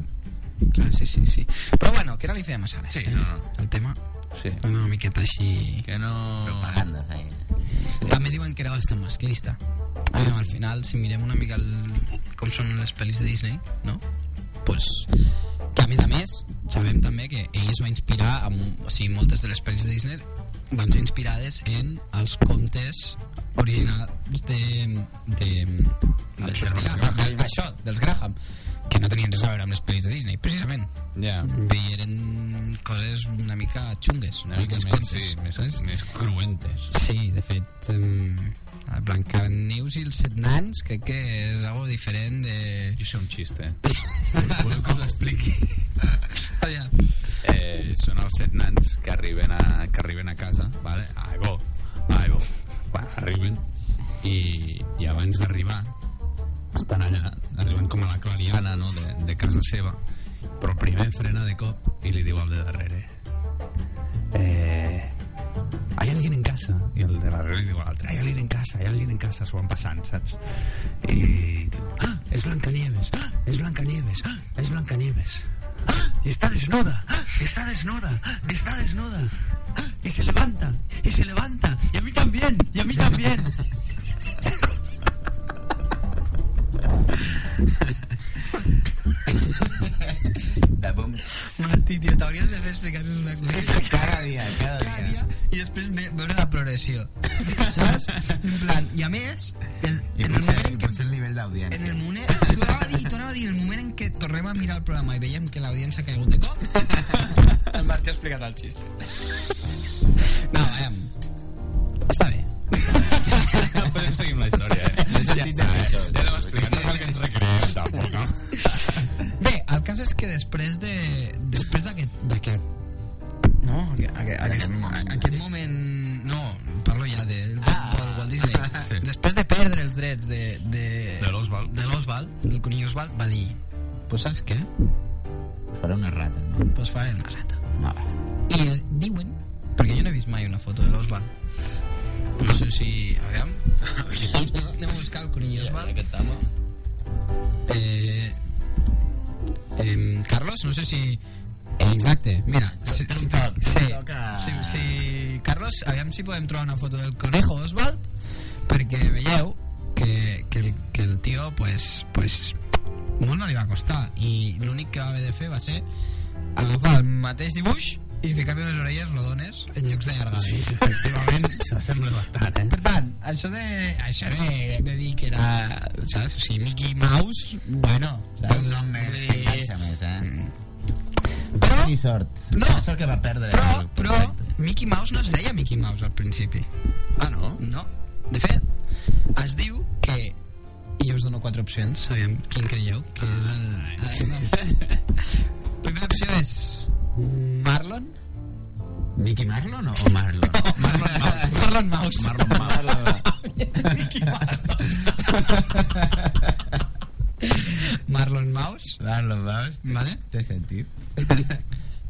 Speaker 1: Clar, sí, sí, sí. Però bueno, que ara li feia massa gràcia.
Speaker 2: Sí,
Speaker 1: eh?
Speaker 2: no, no.
Speaker 1: El tema
Speaker 2: Sí.
Speaker 1: una miqueta així...
Speaker 2: Que no...
Speaker 5: Propaganda, feia.
Speaker 1: També diuen que era bastant masclista. Bueno, al final, si mirem una mica el, com són les pel·lis de Disney, no? Pues, que a més a més, sabem també que ell es va inspirar, amb, o sigui, moltes de les pel·lis de Disney van ser inspirades en els contes originals de... de, de,
Speaker 2: Sherlock
Speaker 1: Graham, això, dels Graham, que no tenien res a veure amb les pel·lis de Disney, precisament.
Speaker 2: Ja.
Speaker 1: Bé, eren coses una mica xungues, una mica els
Speaker 2: Més,
Speaker 1: contes.
Speaker 2: sí, més,
Speaker 1: saps?
Speaker 2: més cruentes.
Speaker 1: Sí, de fet, um, el Blancaneus i els set nans crec que és algo diferent de...
Speaker 2: Jo sé un xiste. Voleu que us l'expliqui?
Speaker 1: [laughs] Aviam.
Speaker 2: Eh, són els set nans que arriben a, que arriben a casa, vale? Ai, bo, ai, bo. Bueno, arriben i, i abans d'arribar estan allà, arriben com a la clariana no? de, de casa seva però primer frena de cop i li diu al de darrere eh, hay alguien en casa i el de darrere li diu a l'altre hay alguien en casa, hay alguien en casa s'ho van passant, saps? i diu ah, és Blancanieves, ah, és Blancanieves ah, és Blancanieves ah, i està desnuda, ah, està desnuda ah, està desnuda ah, i se levanta, i se levanta i a mi també, i a mi també
Speaker 5: De bum.
Speaker 1: Martí, tio, t'hauries de fer explicar-nos una cosa
Speaker 5: Cada dia, cada
Speaker 1: cada
Speaker 5: dia.
Speaker 1: dia i després ve, veure la
Speaker 2: [laughs]
Speaker 1: progressió. Saps? En plan, i a més, el,
Speaker 5: I
Speaker 1: en el
Speaker 5: potser,
Speaker 1: moment en
Speaker 5: i
Speaker 1: què
Speaker 5: potser pues, el nivell
Speaker 1: en
Speaker 5: d'audiència.
Speaker 1: el moment, tornava a dir, tornava a dir, el moment en què tornem a mirar el programa i veiem que l'audiència ha caigut de cop, el [laughs] Martí ha explicat el xiste. No, veiem. Està bé.
Speaker 2: No podem seguir amb la història, eh?
Speaker 5: sentit de
Speaker 2: ja,
Speaker 5: pitjor,
Speaker 2: està, eh? ja l'hem explicat, no cal que ens recreem, tampoc, no?
Speaker 1: cas és que després de... Després d'aquest... d'aquest no, aquest, aquest,
Speaker 5: moment.
Speaker 1: aquest moment... No, parlo ja de,
Speaker 5: Ah.
Speaker 1: del Walt Disney.
Speaker 2: Sí.
Speaker 1: Després de perdre els drets de... De,
Speaker 2: De l'Oswald.
Speaker 1: De l'Oswald, del conill Oswald, va dir... Pues saps què?
Speaker 5: Faré una rata, no?
Speaker 1: Pues faré una rata.
Speaker 5: No, va.
Speaker 1: I diuen... Perquè jo no he vist mai una foto de l'Oswald. No sé si... Aviam... Anem a buscar el conill Oswald.
Speaker 5: Aquest home...
Speaker 1: Eh, em, Carlos, no sé si...
Speaker 3: Exacte.
Speaker 1: Mira, si, si,
Speaker 5: TikTok,
Speaker 1: sí,
Speaker 5: TikTok, ah.
Speaker 1: sí, sí, Carlos, aviam si podem trobar una foto del conejo Oswald, perquè veieu que, que, el, que el tio, pues, pues, molt no li va costar, i l'únic que va haver de fer va ser agafar el mateix dibuix i ficar-li les orelles rodones en llocs de llargades. Sí, efectivament.
Speaker 2: S'assembla bastant, eh?
Speaker 1: Per tant, això de, això de, de dir que era, saps? O sigui, Mickey Mouse, bueno,
Speaker 5: Té
Speaker 1: saps?
Speaker 5: un nom més,
Speaker 1: Sí.
Speaker 5: t'enganxa més, eh?
Speaker 1: Però,
Speaker 5: Ni sort.
Speaker 1: No.
Speaker 5: Ni sort que va perdre.
Speaker 1: però,
Speaker 5: el
Speaker 1: però,
Speaker 5: contracte.
Speaker 1: Mickey Mouse no es deia Mickey Mouse al principi.
Speaker 3: Ah, no?
Speaker 1: No. De fet, es diu que... I jo us dono quatre opcions, aviam quin creieu, que és el... el nom. [laughs] Primera opció és... Marlon?
Speaker 5: Mickey Marlon o o Marlon?
Speaker 1: Marlon [laughs] Mouse. Marlon Mouse.
Speaker 5: Marlon Marlon.
Speaker 1: Mickey Marlon. Marlon Mouse,
Speaker 5: Marlon Mouse.
Speaker 1: vale?
Speaker 5: Té sentit.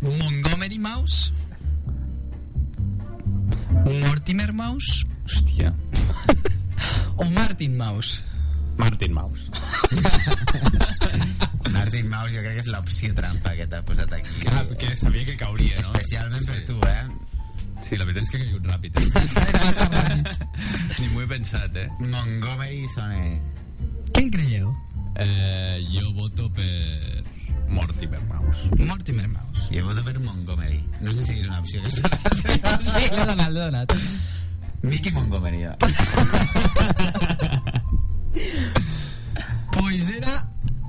Speaker 1: Montgomery Mouse. Mortimer Mouse.
Speaker 6: Hòstia.
Speaker 1: O Martin Mouse.
Speaker 6: Martin Mouse.
Speaker 5: Martin Mouse jo crec que és l'opció trampa que t'ha posat aquí.
Speaker 2: Ah, que sabia que cauria, no?
Speaker 5: Especialment per tu, eh?
Speaker 2: Sí, la veritat és que ha caigut [laughs] ràpid. Eh? Ni m'ho he pensat, eh?
Speaker 5: Montgomery Sone.
Speaker 1: Quin creieu?
Speaker 2: eh jo voto per Mortimer [laughs] Mouse.
Speaker 1: Mortimer Mouse.
Speaker 5: Jo voto per Montgomery. No sé si és una opció que és...
Speaker 1: [laughs] Sí, l'he donat, l'he donat.
Speaker 5: Mickey Montgomery, jo.
Speaker 1: Pues era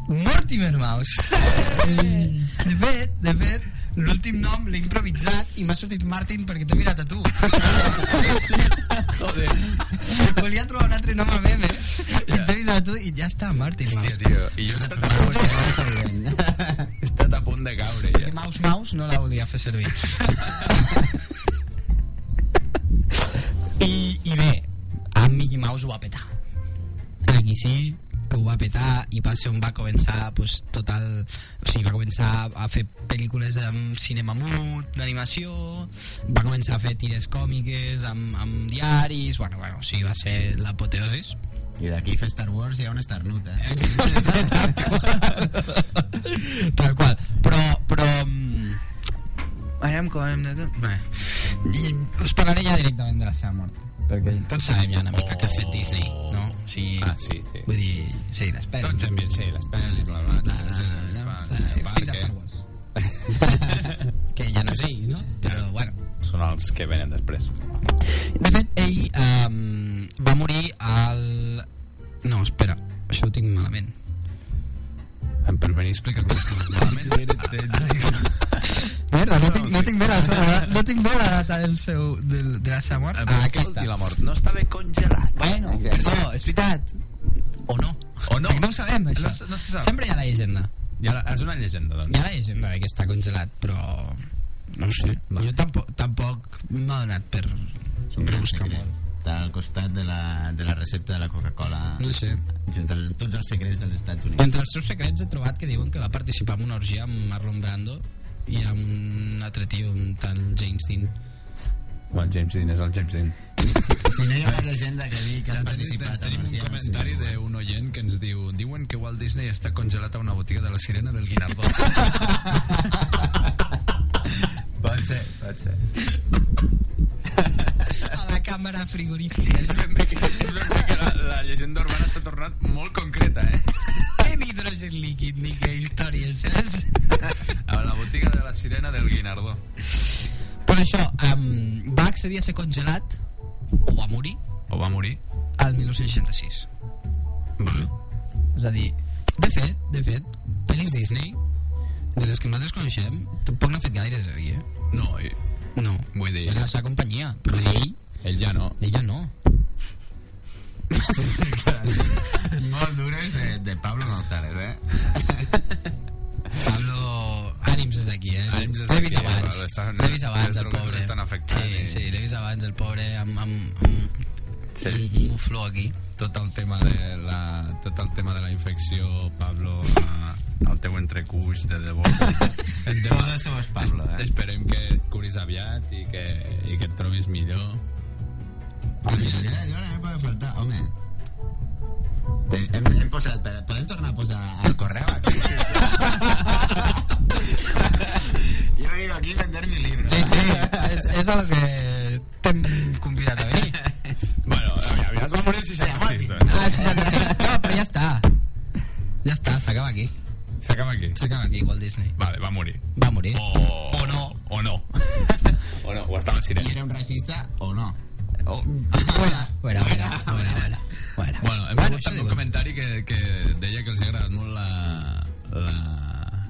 Speaker 1: Mortimer Mouse. Eh, De fet, de fet, l'últim nom l'he improvisat i m'ha sortit Martin perquè t'he mirat a tu.
Speaker 2: Joder.
Speaker 1: Volia trobar un altre nom a meme i t'he vist a tu i ja està, Martin
Speaker 2: Hòstia,
Speaker 1: Mouse.
Speaker 2: tio. I jo he estat, a punt, he estat a punt de caure,
Speaker 1: Que
Speaker 2: ja.
Speaker 1: Mouse Mouse no la volia fer servir. [laughs] I, i bé, a Mickey Mouse ho va petar. Aquí sí, que ho va petar i va ser on va començar pues, tot el... O sigui, va començar a fer pel·lícules de cinema mut, d'animació, va començar a fer tires còmiques amb, amb diaris, bueno, bueno, o sigui, va ser l'apoteosis.
Speaker 5: I d'aquí fer Star Wars hi ha un Starnut, eh?
Speaker 1: tal qual. [laughs] tal qual. Però, però... mm, Aviam com hem de... Bé. I us parlaré ja directament de la seva mort. Perquè tots sabem ja una mica oh. que ha fet Disney, no? O sigui,
Speaker 6: Ah, sí, sí.
Speaker 1: Vull dir, sí, les pel·lis.
Speaker 2: Tots hem vist, sí, les pel·lis, bla, bla,
Speaker 1: La,
Speaker 2: bla,
Speaker 1: la, la, la,
Speaker 2: Va,
Speaker 1: fins a
Speaker 2: que
Speaker 1: Star Wars. [laughs]
Speaker 2: [laughs]
Speaker 1: que ja no sé, no? Però, bueno.
Speaker 6: Són els que venen després.
Speaker 1: De fet, ell um, va morir al... No, espera, això ho tinc malament.
Speaker 2: Em per venir a explicar coses malament.
Speaker 1: Merda, Eh, no, tinc, no, tinc bé la seva, no tinc bé la data del seu, del, de la seva mort.
Speaker 2: Ah, aquesta. La mort. No estava congelat.
Speaker 1: Bueno,
Speaker 5: Exacte.
Speaker 1: perdó, és veritat. O no.
Speaker 2: O no.
Speaker 1: Perquè no ho sabem, això.
Speaker 2: No se- no se sap.
Speaker 1: Sempre hi ha la llegenda.
Speaker 2: I ara, és una llegenda,
Speaker 1: Hi
Speaker 2: doncs.
Speaker 1: ha la llegenda de que està congelat, però... No ho sé.
Speaker 2: Va.
Speaker 1: Jo tampoc, tampoc m'ha donat per... buscar molt.
Speaker 5: Està al costat de la, de la recepta de la Coca-Cola.
Speaker 1: No sé.
Speaker 5: Junt amb tots els secrets dels Estats Units.
Speaker 1: Entre els seus secrets he trobat que diuen que va participar en una orgia amb Marlon Brando i amb un altre tio, un tal James Dean.
Speaker 6: Bueno, el James Dean és el James Dean.
Speaker 5: Si no hi ha una llegenda que digui que has participat...
Speaker 2: Tenim un comentari d'un oient que ens diu diuen que Walt Disney està congelat a una botiga de la sirena del Guinardó.
Speaker 5: Pot ser, pot ser.
Speaker 1: A la càmera frigorífica.
Speaker 2: és ben bé que, és ben bé que la, la llegenda urbana s'ha tornat molt concreta, eh?
Speaker 1: Què nitrogen líquid ni que històries, saps? [laughs]
Speaker 2: A la botiga de la sirena del Guinardó.
Speaker 1: Però això, um, va accedir a ser congelat o va morir
Speaker 2: O va morir?
Speaker 1: al 1966.
Speaker 2: Vale.
Speaker 1: És a dir, de fet, de fet, pel·lis Disney, de les que nosaltres coneixem, tampoc n'ha fet gaires, oi, eh?
Speaker 2: No, i-
Speaker 1: No.
Speaker 2: Vull dir-
Speaker 1: Era la seva companyia, però ell,
Speaker 2: ell ja no.
Speaker 1: ella no.
Speaker 5: Molt dures de, de Pablo González, eh?
Speaker 1: Pablo eh?
Speaker 2: l'estan-
Speaker 1: L'he vist
Speaker 2: les
Speaker 1: abans, el
Speaker 2: drogues
Speaker 1: pobre.
Speaker 2: l'estan afectant
Speaker 1: Sí,
Speaker 2: i-
Speaker 1: sí, l'he vist abans, el pobre, amb... amb, amb
Speaker 6: Sí.
Speaker 1: amb un flor aquí.
Speaker 2: tot el tema de la, tot el tema de la infecció, Pablo, a, el teu entrecuix de
Speaker 1: [laughs]
Speaker 2: debò. Et dema-
Speaker 5: Todos somos Pablo, eh?
Speaker 2: Esperem que et curis aviat i que, i que et trobis millor.
Speaker 5: Al final de l'hora no pot faltar, home. Te- Hem, hem posat, per- podem tornar a posar el correu aquí? [laughs] Yo he venido aquí a vender mi libro.
Speaker 1: Sí, sí, és, és el que t'hem convidat a venir.
Speaker 2: Bueno, aviat es va morir el 66, doncs.
Speaker 1: Ah, 66. No, però ja està. Ja està, s'acaba aquí.
Speaker 2: S'acaba aquí.
Speaker 1: S'acaba aquí, Walt Disney.
Speaker 2: Vale, va morir.
Speaker 1: Va morir.
Speaker 2: O,
Speaker 1: Eh, O no.
Speaker 2: O
Speaker 1: [laughs]
Speaker 2: no. o no, o estava al
Speaker 5: ¿Y
Speaker 2: cine.
Speaker 5: era un racista o no?
Speaker 2: Oh.
Speaker 1: Fuera, fuera, fuera, fuera, fuera.
Speaker 2: Bueno,
Speaker 1: fuera.
Speaker 2: hem
Speaker 1: Bueno,
Speaker 2: bueno,
Speaker 1: això
Speaker 2: també un
Speaker 1: diuen.
Speaker 2: comentari que, que deia que els ha agradat molt la... la...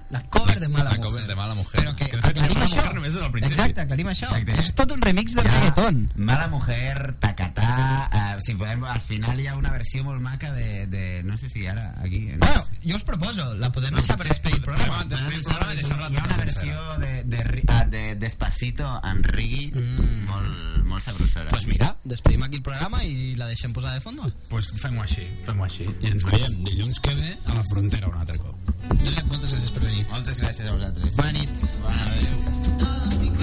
Speaker 1: La cover de Mala
Speaker 2: la
Speaker 1: Mujer.
Speaker 2: cover de Mala Mujer.
Speaker 1: Però que
Speaker 2: de fet,
Speaker 1: aclarim
Speaker 2: Mala
Speaker 1: això.
Speaker 2: Mujer només és al principi.
Speaker 1: Exacte, aclarim això.
Speaker 5: Exacte.
Speaker 1: És tot un remix de
Speaker 5: Ja,
Speaker 1: reggaeton.
Speaker 5: Mala mujer, tacatà... eh, si podem, al final hi ha una versió molt maca de... de no sé si ara aquí... No?
Speaker 1: Bueno, jo us proposo, la podem deixar per despedir el programa.
Speaker 2: Bueno, després del programa deixem-la
Speaker 5: Hi ha una
Speaker 2: tota
Speaker 5: versió de, de, ri- ah, de Despacito en reggae
Speaker 1: Mm.
Speaker 5: molt, molt sabrosera.
Speaker 1: Pues mira, despedim aquí el programa i la deixem posar de fondo.
Speaker 2: pues fem-ho així, fem-ho així. I ens veiem dilluns que ve a la frontera un altre cop.
Speaker 1: Josep, moltes gràcies per venir.
Speaker 5: Moltes gràcies a vosaltres.
Speaker 1: Bona nit.
Speaker 5: Bona nit.
Speaker 7: todo mi